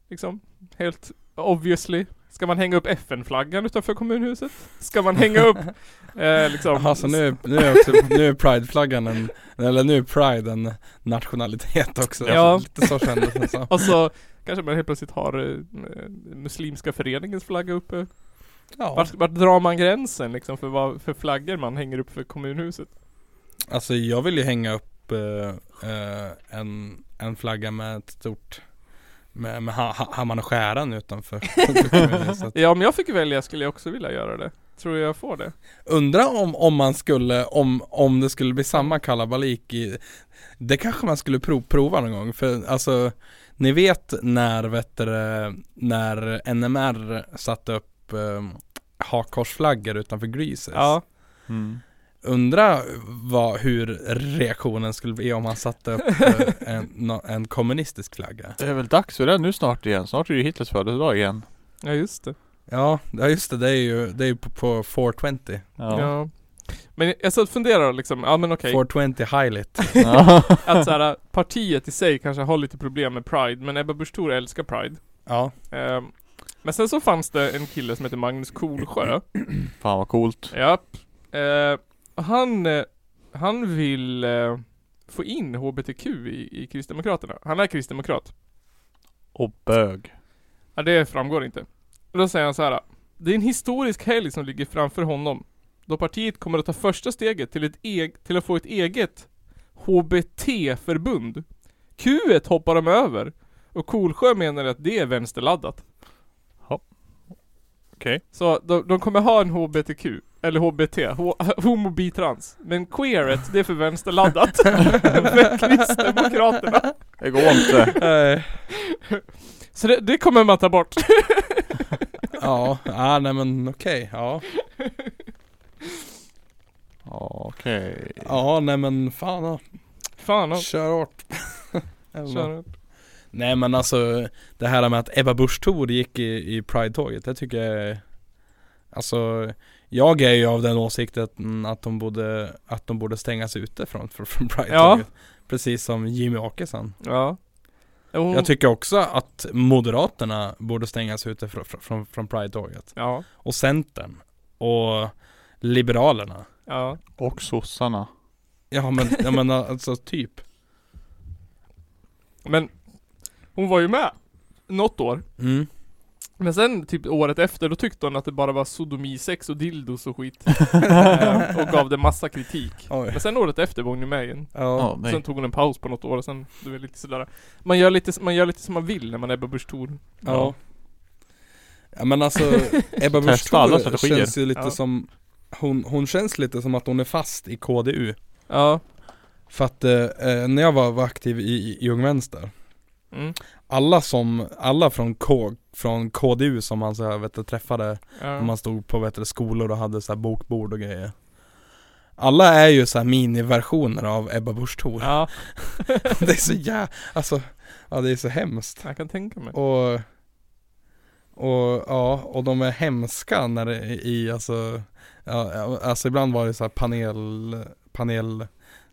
Speaker 2: Liksom. Helt obviously. Ska man hänga upp FN-flaggan utanför kommunhuset? Ska man hänga upp eh, liksom...
Speaker 1: Jaha, så nu, är- nu är, också, nu är Pride-flaggan en, eller nu är Pride en nationalitet också.
Speaker 2: Ja.
Speaker 1: Alltså, lite så kändes det som.
Speaker 2: Och så kanske man helt plötsligt har eh, Muslimska föreningens flagga uppe.
Speaker 1: Ja.
Speaker 2: Vart, vart drar man gränsen liksom för vad för flaggor man hänger upp för kommunhuset?
Speaker 1: Alltså jag vill ju hänga upp eh, eh, en, en flagga med ett stort, med, med ha, ha, Hammaren och skäran utanför. kommunhuset.
Speaker 2: Ja, om jag fick välja skulle jag också vilja göra det. Tror jag får det.
Speaker 1: Undra om, om man skulle, om, om det skulle bli samma kalabalik i, det kanske man skulle prov, prova någon gång för alltså ni vet när, vet du, det, när NMR satte upp eh, hakkorsflaggor utanför Greases.
Speaker 2: Ja.
Speaker 3: Mm.
Speaker 1: Undra vad, hur reaktionen skulle bli om man satte upp eh, en, nå- en kommunistisk flagga.
Speaker 3: Det är väl dags för det nu snart igen. Snart är det ju Hitlers födelsedag igen.
Speaker 2: ja, just det.
Speaker 1: Ja, ja just det, det är ju, det är ju på, på 420.
Speaker 2: Ja. Men jag satt och funderade liksom, ja men okej.
Speaker 1: 420 highlight.
Speaker 3: Ja.
Speaker 1: Alltså.
Speaker 2: Att såhär, partiet i sig kanske har lite problem med Pride, men Ebba Busch Thor älskar Pride.
Speaker 1: Ja,
Speaker 2: Ehm, men sen så fanns det en kille som heter Magnus Kolsjö.
Speaker 3: Fan vad coolt.
Speaker 2: Japp. Ehm, och han, eh, han vill eh, få in HBTQ i, i Kristdemokraterna. Han är kristdemokrat.
Speaker 3: Och bög.
Speaker 2: Ja, det framgår inte. Då säger han så här. Det är en historisk helg som ligger framför honom. Då partiet kommer att ta första steget till, ett eg- till att få ett eget HBT-förbund. q hoppar de över. Och Kolsjö menar att det är vänsterladdat.
Speaker 3: Okej.
Speaker 2: Så de, de kommer ha en HBTQ. Eller HBT, ho- homo bitrans. Men queeret, det är för vänsterladdat. för Kristdemokraterna.
Speaker 3: Det går inte.
Speaker 1: eh,
Speaker 2: Så det, det kommer man ta bort.
Speaker 1: ja, ah, nej men okej, ja.
Speaker 3: Okej.
Speaker 1: Ja, nej men fan ja.
Speaker 2: Fan också.
Speaker 1: Kör hårt. Även om- Nej men alltså det här med att Ebba Busch Thor gick i, i Pride-tåget, det tycker jag är- Alltså jag är ju av den åsikten att, mm, att, de, borde, att de borde stängas ute från, från, från Pride-tåget Precis som Jimmy Åkesson
Speaker 2: Ja. Jo,
Speaker 1: Jag tycker också att Moderaterna borde stängas ute från, från, från Pride-tåget
Speaker 2: Ja,
Speaker 1: Och Centern Och Liberalerna
Speaker 2: ja.
Speaker 3: Och sossarna.
Speaker 1: Ja men, jag menar alltså typ
Speaker 2: Men hon var ju med något år.
Speaker 1: mm.
Speaker 2: Men sen typ året efter, då tyckte hon att det bara var sodomisex och dildos och skit. Ehm, och gav det massa kritik.
Speaker 1: Oj.
Speaker 2: Men sen året efter var hon ju med igen.
Speaker 1: Ja.
Speaker 3: Ja, nej.
Speaker 2: Sen tog hon en paus på något år och sen, du vet lite sådär. Man gör lite, man gör lite som man vill när man är Ebba Busch Thor.
Speaker 1: Ja. ja men alltså Ebba Busch
Speaker 3: Testa alla
Speaker 1: Thor
Speaker 3: strategier.
Speaker 1: känns ju lite
Speaker 2: Ja.
Speaker 1: som hon, hon känns lite som att hon är fast i KDU
Speaker 2: Ja.
Speaker 1: För att eh, eh, när jag var, var aktiv i, i- i Ung Vänster
Speaker 2: Mm.
Speaker 1: Alla som, alla från, K, från KDU som man så här, vet du, träffade
Speaker 2: Ja.
Speaker 1: när Man stod på vet du, skolor och hade så här bokbord och grejer Alla är ju så här miniversioner av Ebba Busch Thor
Speaker 2: ja,
Speaker 1: Det är så jä... Alltså, ja det är så hemskt
Speaker 2: jag kan tänka mig.
Speaker 1: Och, och ja, och de är hemska när det är i, alltså, ja, ja, alltså ibland var det så här panel, panel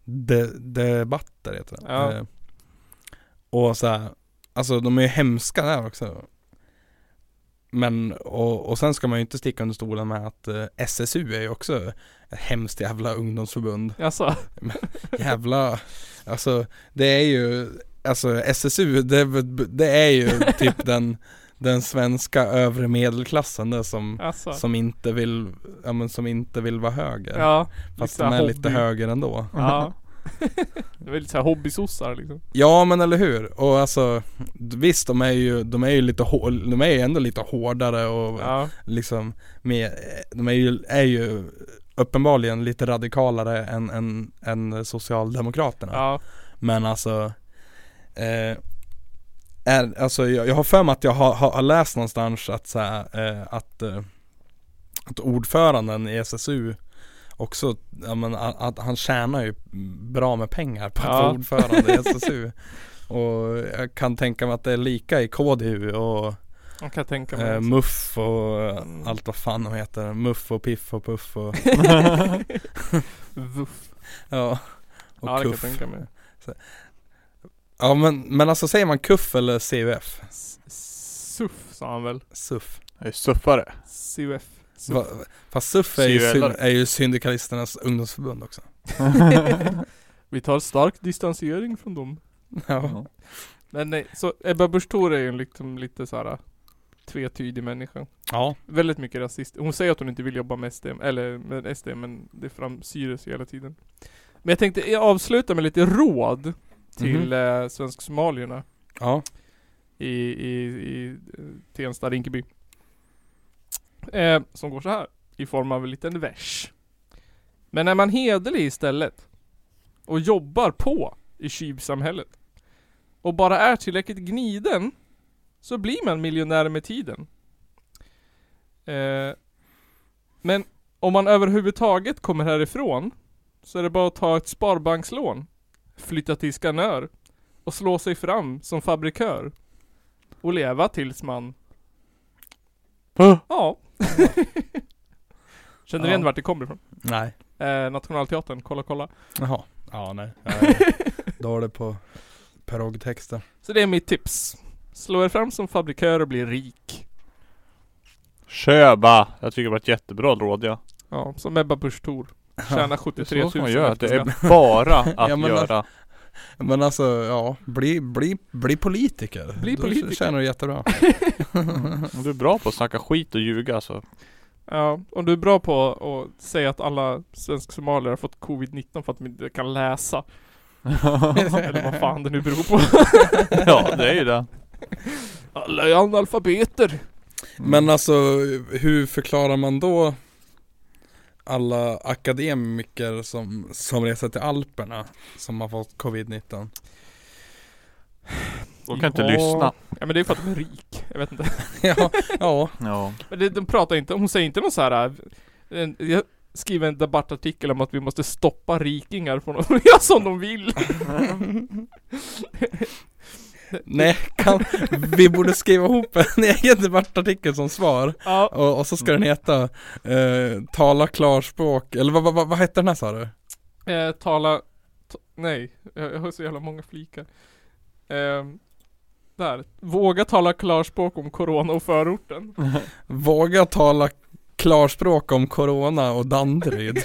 Speaker 1: de, debatter heter det.
Speaker 2: Ja.
Speaker 1: Eh, och så här, alltså de är ju hemska där också. Men, och, och sen ska man ju inte sticka under stolen med att eh, SSU är ju också ett hemskt jävla ungdomsförbund.
Speaker 2: Jaså?
Speaker 1: Jävla, alltså det är ju, alltså SSU det, är väl- det är ju typ den, den svenska övre medelklassen det som,
Speaker 2: Jaså?
Speaker 1: som inte vill, ja men som inte vill vara höger.
Speaker 2: Ja.
Speaker 1: Fast
Speaker 2: så
Speaker 1: de
Speaker 2: här
Speaker 1: är lite
Speaker 2: hobby-
Speaker 1: höger ändå.
Speaker 2: Ja. det var lite såhär hobbysossar liksom.
Speaker 1: Ja men eller hur, och alltså visst de är ju, de är ju lite hår, de är ju ändå lite hårdare och
Speaker 2: Ja.
Speaker 1: liksom med, de är ju, är ju uppenbarligen lite radikalare än, än, än Socialdemokraterna.
Speaker 2: Ja.
Speaker 1: Men alltså, eh, är, alltså jag, jag har för mig att jag har, har, har läst någonstans att, så här, eh, att, eh, att ordföranden i SSU också, ja, men, att, att han tjänar ju bra med pengar på att
Speaker 2: Ja.
Speaker 1: vara ordförande i SSU. Och jag kan tänka mig att det är lika i KDU och
Speaker 2: Jag kan tänka mig.
Speaker 1: eh,
Speaker 2: också.
Speaker 1: MUF och eh,
Speaker 2: Mm.
Speaker 1: allt vad fan de heter. MUF och Piff och Puff och,
Speaker 2: Vuff.
Speaker 1: ja, och
Speaker 2: Ja, det kan jag
Speaker 1: Kuff.
Speaker 2: tänka mig.
Speaker 1: Ja men, men alltså säger man Kuff eller CUF?
Speaker 2: S- Suff sa han väl?
Speaker 1: SUF.
Speaker 3: Jag är suffare.
Speaker 2: CUF.
Speaker 1: Va, fast SUF är ju,
Speaker 3: CUL-are.
Speaker 1: syn, är ju syndikalisternas ungdomsförbund också.
Speaker 2: Vi tar stark distansering från dem.
Speaker 1: Ja.
Speaker 2: Men nej, så Ebba Busch Thor är ju en liksom lite så här tvetydig människa.
Speaker 1: Ja.
Speaker 2: Väldigt mycket rasist. Hon säger att hon inte vill jobba med SD, eller med SD, men det framsyras ju hela tiden. Men jag tänkte eh, avsluta med lite råd
Speaker 1: Mhm.
Speaker 2: till eh, svensk-somalierna
Speaker 1: Ja.
Speaker 2: i, i, i eh, Tensta, Rinkeby. Eh, som går så här i form av en liten vers. Men är man hederlig istället och jobbar på i kybsamhället och bara är tillräckligt gniden så blir man miljonär med tiden. Eh, Men om man överhuvudtaget kommer härifrån så är det bara att ta ett sparbankslån, flytta till Skanör och slå sig fram som fabrikör och leva tills man,
Speaker 3: Huh?
Speaker 2: ja. Känner
Speaker 1: Ja.
Speaker 2: ni igen vart det kommer ifrån?
Speaker 1: Nej.
Speaker 2: Eh, Nationalteatern, kolla kolla.
Speaker 1: Jaha. Ja, nej. Jag är dålig på perogtexter.
Speaker 2: Så det är mitt tips. Slå er fram som fabrikör och bli rik.
Speaker 3: Köba! Jag tycker det var ett jättebra råd ja.
Speaker 2: Ja, som Ebba Busch Thor. Tjäna
Speaker 3: Det är
Speaker 2: 73
Speaker 3: så
Speaker 2: 000
Speaker 3: ska man gör.
Speaker 2: efter
Speaker 3: Det
Speaker 2: skatt.
Speaker 3: är bara att
Speaker 1: Ja, men
Speaker 3: göra.
Speaker 1: Men alltså, ja. Bli, bli, bli politiker.
Speaker 2: Bli politiker.
Speaker 1: Då tjänar du jättebra.
Speaker 3: Om du är bra på att snacka skit och ljuga alltså. så.
Speaker 2: Ja, om du är bra på att säga att alla svensk-somalier har fått covid-19 för att de inte kan läsa. Eller vad fan det nu beror på.
Speaker 3: ja det är ju det.
Speaker 2: Alla är analfabeter. Mm.
Speaker 3: Mm.
Speaker 1: Men alltså, hur förklarar man då alla akademiker som, som reser till Alperna som har fått covid-19?
Speaker 3: De kan inte
Speaker 2: Ja.
Speaker 3: lyssna.
Speaker 2: Ja men det är för att de är rik. Jag vet inte.
Speaker 1: ja, ja,
Speaker 3: Ja.
Speaker 2: Men det, de pratar inte, hon säger inte någon så här. äh, en- Jag skriver en debattartikel om att vi måste stoppa rikingar från att göra som de vill.
Speaker 1: nej, kan, vi borde skriva ihop en egen debattartikel som svar
Speaker 2: Ja,
Speaker 1: och, och så ska den heta eh, Tala klarspråk, eller vad, vad, vad, vad hette den här sa du?
Speaker 2: eh, tala... T- nej, jag, jag har så jävla många flikar. Ehm, där. Våga tala klarspråk om corona och förorten.
Speaker 1: Våga tala klarspråk om Corona och Danderyd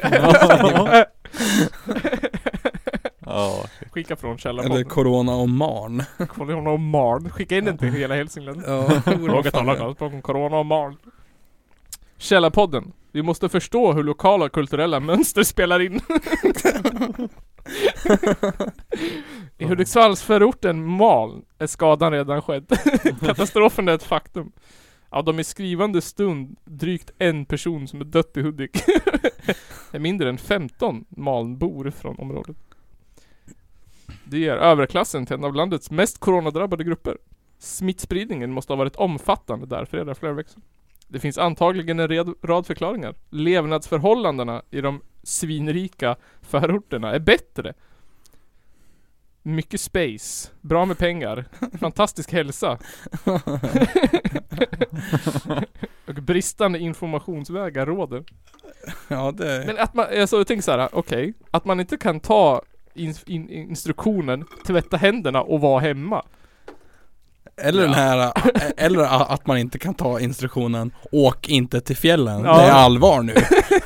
Speaker 3: ja.
Speaker 2: Skicka från
Speaker 1: Eller
Speaker 2: källarpodden.
Speaker 1: Corona och Marn
Speaker 2: Corona och Marn. Skicka in den till hela Hälsingland.
Speaker 1: ja,
Speaker 2: Våga tala klarspråk om Corona och Marn. Källarpodden. Vi måste förstå hur lokala kulturella mönster spelar in. I Hudiksvallsförorten Maln är skadan redan skedd. Katastrofen är ett faktum. Av dem i skrivande stund drygt en person som är dött i Hudik. är mindre än 15 Malnbor från området. Det gör överklassen till en av landets mest coronadrabbade grupper. Smittspridningen måste ha varit omfattande där fredag flera veckor sedan. Det finns antagligen en red- rad förklaringar. Levnadsförhållandena i de svinrika förorterna är bättre. Mycket space, bra med pengar, fantastisk hälsa. Och bristande informationsvägar råder.
Speaker 1: Ja det
Speaker 2: Men att man, alltså jag tänker såhär, okej. att man inte kan ta in, in, instruktionen, tvätta händerna och vara hemma.
Speaker 1: Eller den här, ä- eller a- att man inte kan ta instruktionen Åk inte till fjällen,
Speaker 2: Ja.
Speaker 1: det är allvar nu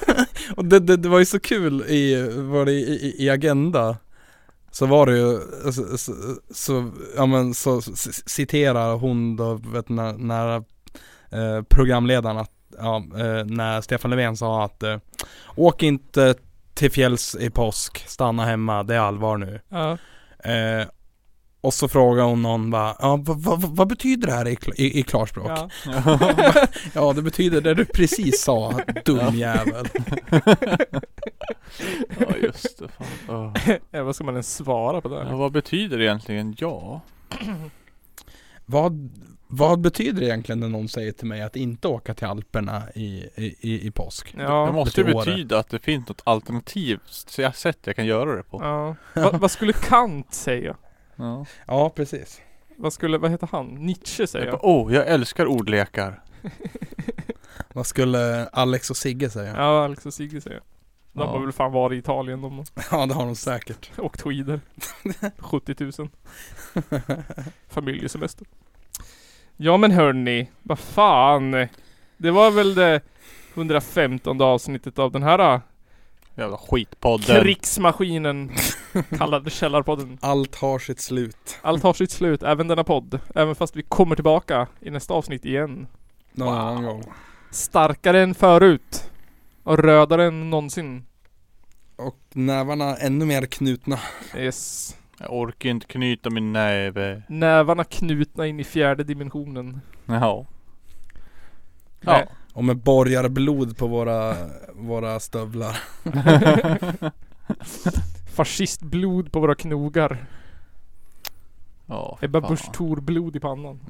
Speaker 1: Och det, det, det var ju så kul i, var det i, i- i Agenda Så var det ju, alltså, så, så, så ja men så c- citerar hon då, vet när, när eh, programledaren att, ja, eh, när Stefan Löfven sa att eh, Åk inte till fjälls i påsk, stanna hemma, det är allvar nu
Speaker 2: Ja.
Speaker 1: Eh, och så frågar hon någon bara, ja, vad, vad, vad betyder det här i, kl- i, i klarspråk? Ja.
Speaker 2: Ja.
Speaker 1: det betyder det du precis sa, dum jävel.
Speaker 3: ja just det. Fan. Ja.
Speaker 2: Ja, vad ska man ens svara på det?
Speaker 3: Ja,
Speaker 2: här?
Speaker 3: vad betyder det egentligen ja?
Speaker 1: Vad, vad betyder det egentligen när någon säger till mig att inte åka till Alperna i, i, i, i påsk?
Speaker 3: det
Speaker 2: Ja.
Speaker 3: måste ju
Speaker 1: lite åre.
Speaker 3: betyda att det finns något alternativ s- jag- sätt jag kan göra det på.
Speaker 2: ja. Va, vad skulle Kant säga?
Speaker 3: Ja.
Speaker 1: Ja, precis.
Speaker 2: Vad skulle, vad heter han? Nietzsche
Speaker 3: Jag
Speaker 2: säga?
Speaker 3: bara, oh, jag älskar ordlekar.
Speaker 1: Vad skulle Alex och Sigge säga?
Speaker 2: Ja, Alex och Sigge säger. De
Speaker 3: Ja.
Speaker 2: har väl fan varit i Italien de har
Speaker 1: Ja, det har de säkert.
Speaker 2: åkt skidor. 70 000. Familjesemester. Ja men hörni, vad fan. Det var väl det 115 avsnittet av den här äh,
Speaker 3: Jävla skitpodden.
Speaker 2: krigsmaskinen kallade Källarpodden.
Speaker 1: Allt har sitt slut.
Speaker 2: Allt har sitt slut, även denna podd. Även fast vi kommer tillbaka i nästa avsnitt igen.
Speaker 1: Någon annan gång.
Speaker 2: Starkare än förut. Och rödare än någonsin.
Speaker 1: Och nävarna ännu mer knutna.
Speaker 2: Yes.
Speaker 3: Jag orkar inte knyta min näve.
Speaker 2: Nävarna knutna in i fjärde dimensionen.
Speaker 3: Ja. Ja.
Speaker 1: Och med borgarblod på våra, våra stövlar.
Speaker 2: Fascistblod på våra knogar.
Speaker 3: Ja,
Speaker 2: Ebba
Speaker 3: fan.
Speaker 2: Busch Thor blod i pannan.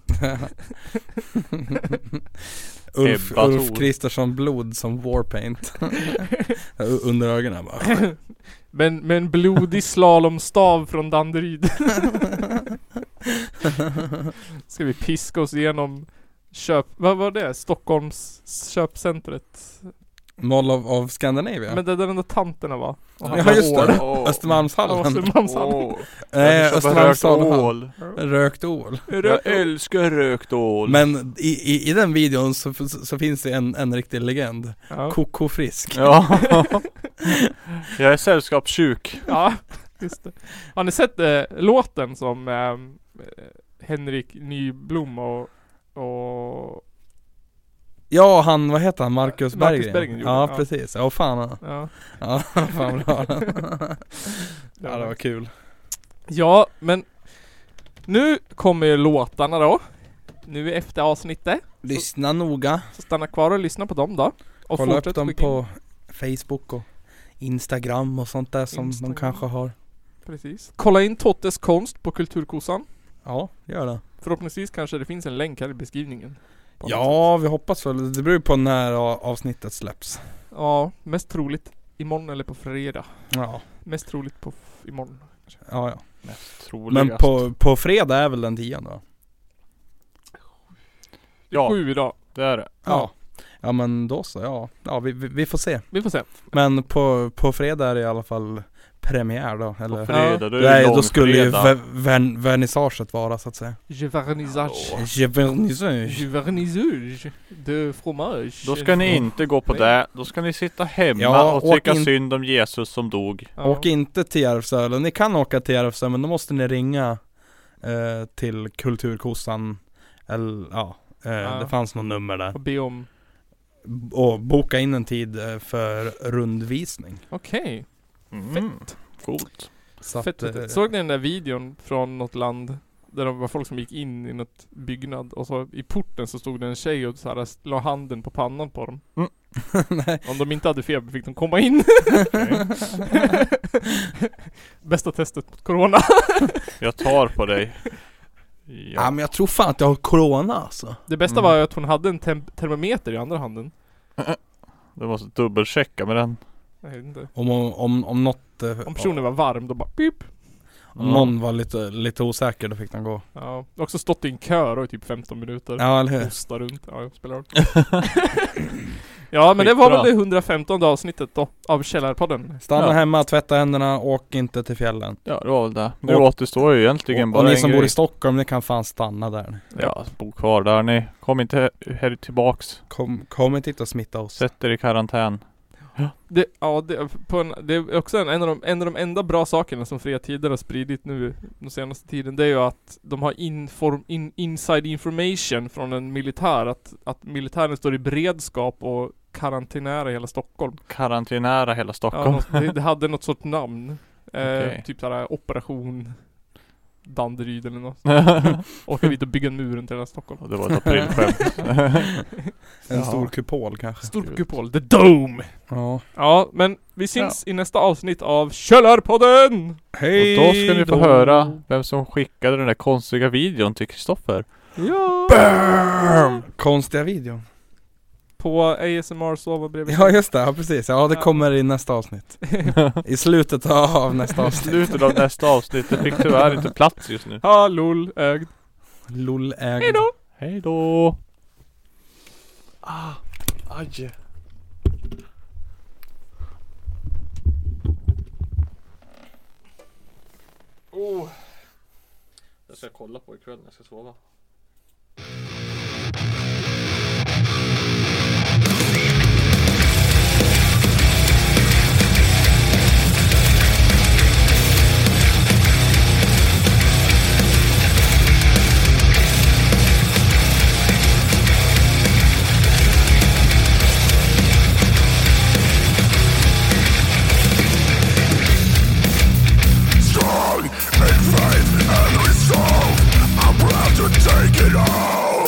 Speaker 1: Ulf,
Speaker 3: Ebba
Speaker 1: Ulf
Speaker 3: Thor.
Speaker 1: Kristersson blod som warpaint Under ögonen bara
Speaker 2: Men, men blodig slalomstav från Danderyd. Ska vi piska oss igenom köp... Vad var det? Stockholms köpcentret?
Speaker 1: Mall of, of Scandinavia?
Speaker 2: Men det där den där tanterna var. Och
Speaker 1: Ja
Speaker 2: handla
Speaker 1: just
Speaker 2: ål.
Speaker 1: det,
Speaker 3: Åh.
Speaker 1: Östermalmshallen
Speaker 2: Ja, Östermalmshallen.
Speaker 3: Åh,
Speaker 1: Nej
Speaker 3: jag köper rökt
Speaker 1: Östermalmshallen
Speaker 3: ål.
Speaker 1: Rökt ål
Speaker 3: Jag
Speaker 2: Rök-
Speaker 3: älskar rökt ål.
Speaker 1: Men i, i, i den videon så, så finns det en, en riktig legend
Speaker 2: Ja.
Speaker 1: Koko Frisk
Speaker 3: Ja. jag är sällskapssjuk.
Speaker 2: ja, just det. Har ni sett eh, låten som ehm, eh, Henrik Nyblom och, och
Speaker 1: Ja han, vad heter han? Marcus
Speaker 2: Marcus
Speaker 1: Berggren?
Speaker 2: Berggren gjorde,
Speaker 1: ja,
Speaker 2: ja.
Speaker 1: precis, ja fan
Speaker 2: ja,
Speaker 1: Ja fan bra Ja det var kul
Speaker 2: Ja, men nu kommer ju låtarna då. Nu i efter avsnittet.
Speaker 1: Lyssna noga
Speaker 2: Så stanna kvar och lyssna på dem då. Och
Speaker 1: Kolla upp
Speaker 2: fortsätt
Speaker 1: dem
Speaker 2: skicka in.
Speaker 1: på Facebook och Instagram och sånt där som
Speaker 2: Instagram.
Speaker 1: de kanske har
Speaker 2: Precis. Kolla in Tottes konst på Kulturkosan.
Speaker 1: Ja, gör det
Speaker 2: Förhoppningsvis kanske det finns en länk här i beskrivningen. På något
Speaker 1: Ja, vi hoppas väl. Det beror ju på när a- avsnittet släpps
Speaker 2: sätt. Ja, mest troligt imorgon eller på fredag.
Speaker 1: Ja,
Speaker 2: Mest troligt på f- imorgon.
Speaker 1: ja, ja.
Speaker 3: Mest troligast.
Speaker 1: Men på, på fredag är väl den tionde då?
Speaker 3: Ja,
Speaker 2: Sju idag.
Speaker 3: det är det.
Speaker 1: Ja Ja men då så, ja. Ja vi, vi, vi får se.
Speaker 2: Vi får se.
Speaker 1: Men på, på fredag är det i alla fall premiär då, eller?
Speaker 3: På fredag, då är det
Speaker 1: Nej, då
Speaker 3: långfredag.
Speaker 1: skulle ju ver- ver- vernissaget vara så att säga.
Speaker 2: Jevernissage.
Speaker 3: Ja.
Speaker 1: Je vernissage.
Speaker 2: Jevernissage. De fromage.
Speaker 3: Då ska ni inte gå på
Speaker 2: Nej.
Speaker 3: det. Då ska ni sitta hemma
Speaker 1: Ja,
Speaker 3: och
Speaker 1: åk
Speaker 3: tycka
Speaker 1: in-
Speaker 3: synd om Jesus som dog.
Speaker 2: Ja.
Speaker 1: Åk inte till Järvsö, eller ni kan åka till Järvsö men då måste ni ringa eh, till Kulturkossan, eller ja, eh,
Speaker 2: Ja.
Speaker 1: det fanns något nummer där.
Speaker 2: Och be om...
Speaker 1: B- Och boka in en tid eh, för rundvisning.
Speaker 2: Okej.
Speaker 3: Mm. Coolt.
Speaker 1: Så
Speaker 2: Fett,
Speaker 1: att,
Speaker 2: fett.
Speaker 1: eh,
Speaker 2: Såg ni den där videon från något land? Där det var folk som gick in i något byggnad och så i porten så stod det en tjej och så här la handen på pannan på dem.
Speaker 1: Mm. nej.
Speaker 2: Om de inte hade feber fick de komma in. Bästa testet mot corona.
Speaker 3: Jag tar på dig.
Speaker 1: Ja.
Speaker 3: Ja.
Speaker 1: men jag tror fan att jag har corona alltså.
Speaker 2: Det bästa
Speaker 3: Mm.
Speaker 2: var ju att hon hade en tem- termometer i andra handen.
Speaker 3: Du måste dubbelchecka med den.
Speaker 2: Jag vet inte.
Speaker 1: Om, om, om, om något, eh,
Speaker 2: Om personen var varm då bara pip.
Speaker 1: om någon var lite, lite osäker då fick den gå.
Speaker 2: Ja. Jag har också stått i en kö då i typ 15 minuter.
Speaker 1: Ja eller hur?
Speaker 2: Hosta runt. Ja, jag spelar roll. ja, men det var väl det 115 avsnittet då av Källarpodden.
Speaker 1: Stanna
Speaker 3: Ja.
Speaker 1: hemma, tvätta händerna, åk inte till fjällen.
Speaker 3: Ja, det var väl det. Nu
Speaker 1: Och-
Speaker 3: återstår ju egentligen
Speaker 1: och
Speaker 3: bara
Speaker 1: och ni
Speaker 3: en
Speaker 1: som
Speaker 3: grej.
Speaker 1: bor i Stockholm, ni kan fan stanna där.
Speaker 3: Ja, bo kvar där ni. Kom inte här tillbaks.
Speaker 1: Kom, kom inte hit och smitta oss.
Speaker 3: Sätt er i karantän.
Speaker 2: Det, ja, det, på en, det är också en, en, av de, en av de enda bra sakerna som Fria Tider har spridit nu den senaste tiden. Det är ju att de har inform, in, inside information från en militär. Att, att militären står i beredskap och karantinära hela Stockholm.
Speaker 3: Karantinära hela
Speaker 2: Ja,
Speaker 3: Stockholm.
Speaker 2: något, det, det hade något sorts namn. Eh,
Speaker 3: Okej.
Speaker 2: Typ såhär operation Danderyd eller något. Åka dit och bygga en mur runt hela Stockholm.
Speaker 3: Och det var ett aprilskämt.
Speaker 1: En
Speaker 3: Ja.
Speaker 1: stor kupol kanske.
Speaker 2: Stor
Speaker 3: Gud.
Speaker 2: kupol, the dome!
Speaker 1: Ja.
Speaker 2: Ja, men vi syns i nästa avsnitt av Källarpodden!
Speaker 1: Hej
Speaker 3: Och då ska ni få
Speaker 1: då.
Speaker 3: höra vem som skickade den där konstiga videon till Kristoffer.
Speaker 2: Ja.
Speaker 1: Konstiga videon.
Speaker 2: På ASMR sova bredvid
Speaker 1: Ja just det, ja, precis. Ja det
Speaker 2: Ja.
Speaker 1: kommer i nästa avsnitt. I slutet av nästa avsnitt.
Speaker 3: Slutet av nästa avsnitt. Det fick tyvärr inte plats just nu.
Speaker 2: Hallol ögd.
Speaker 1: Lol ägd.
Speaker 2: Hejdå!
Speaker 3: Hej då!
Speaker 2: Oh.
Speaker 3: Jag ska kolla på ikväll när jag ska sova.
Speaker 6: strong and faith and resolve. I'm proud to take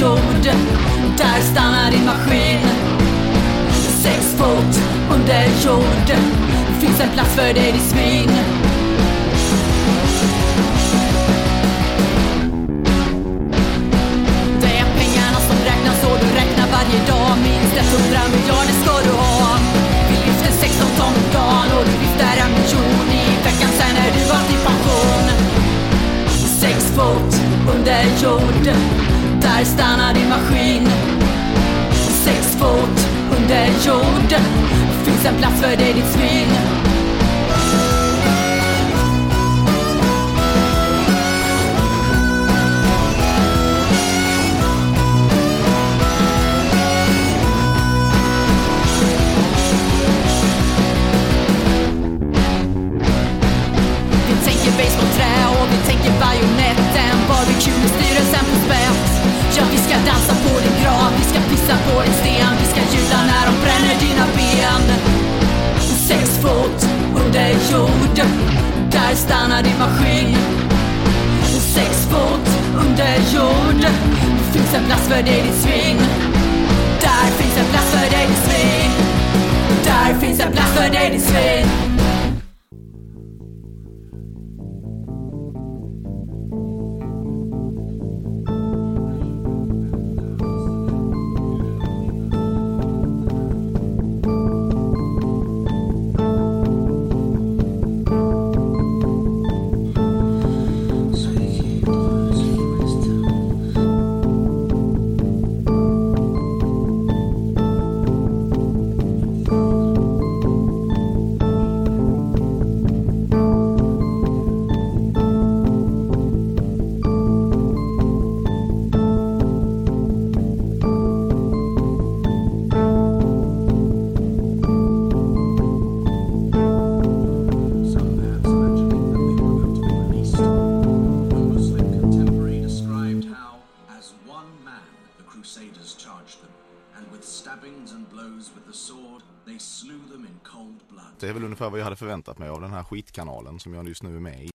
Speaker 4: jord. Där stannar din maskin. Sex fot under jord. Finns en plats för dig, ditt svin. Det är pengarna som räknas och du räknar varje dag Minst 100 miljarder ska du ha Vi lyfter 16 ton om dagen och du lyfter en miljon i veckan sen är du valt i pension Sex fot under jord Där stannar din maskin Sex fot under jord Finns en plats för dig ditt svin Vi tänker basebollträ och vi tänker bajonetten Barbecue med styrelsen på spett Ja, vi ska dansa på din grav, vi ska pissa på din sten Vi ska jubla när de bränner dina ben Sex fot under jord Där stannar din maskin Sex fot under jord Finns en plats för dig, ditt svin Där finns en plats för dig, ditt svin Där finns en plats för dig, ditt svin
Speaker 6: Some maps mentioning that they were built in the east. One Muslim contemporary described how, as one man, the Crusaders charged them, and with stabbings and blows with the sword, they slew them in cold blood.
Speaker 7: Det är väl ungefär vad jag hade förväntat mig av den här skitkanalen som jag just nu är med i.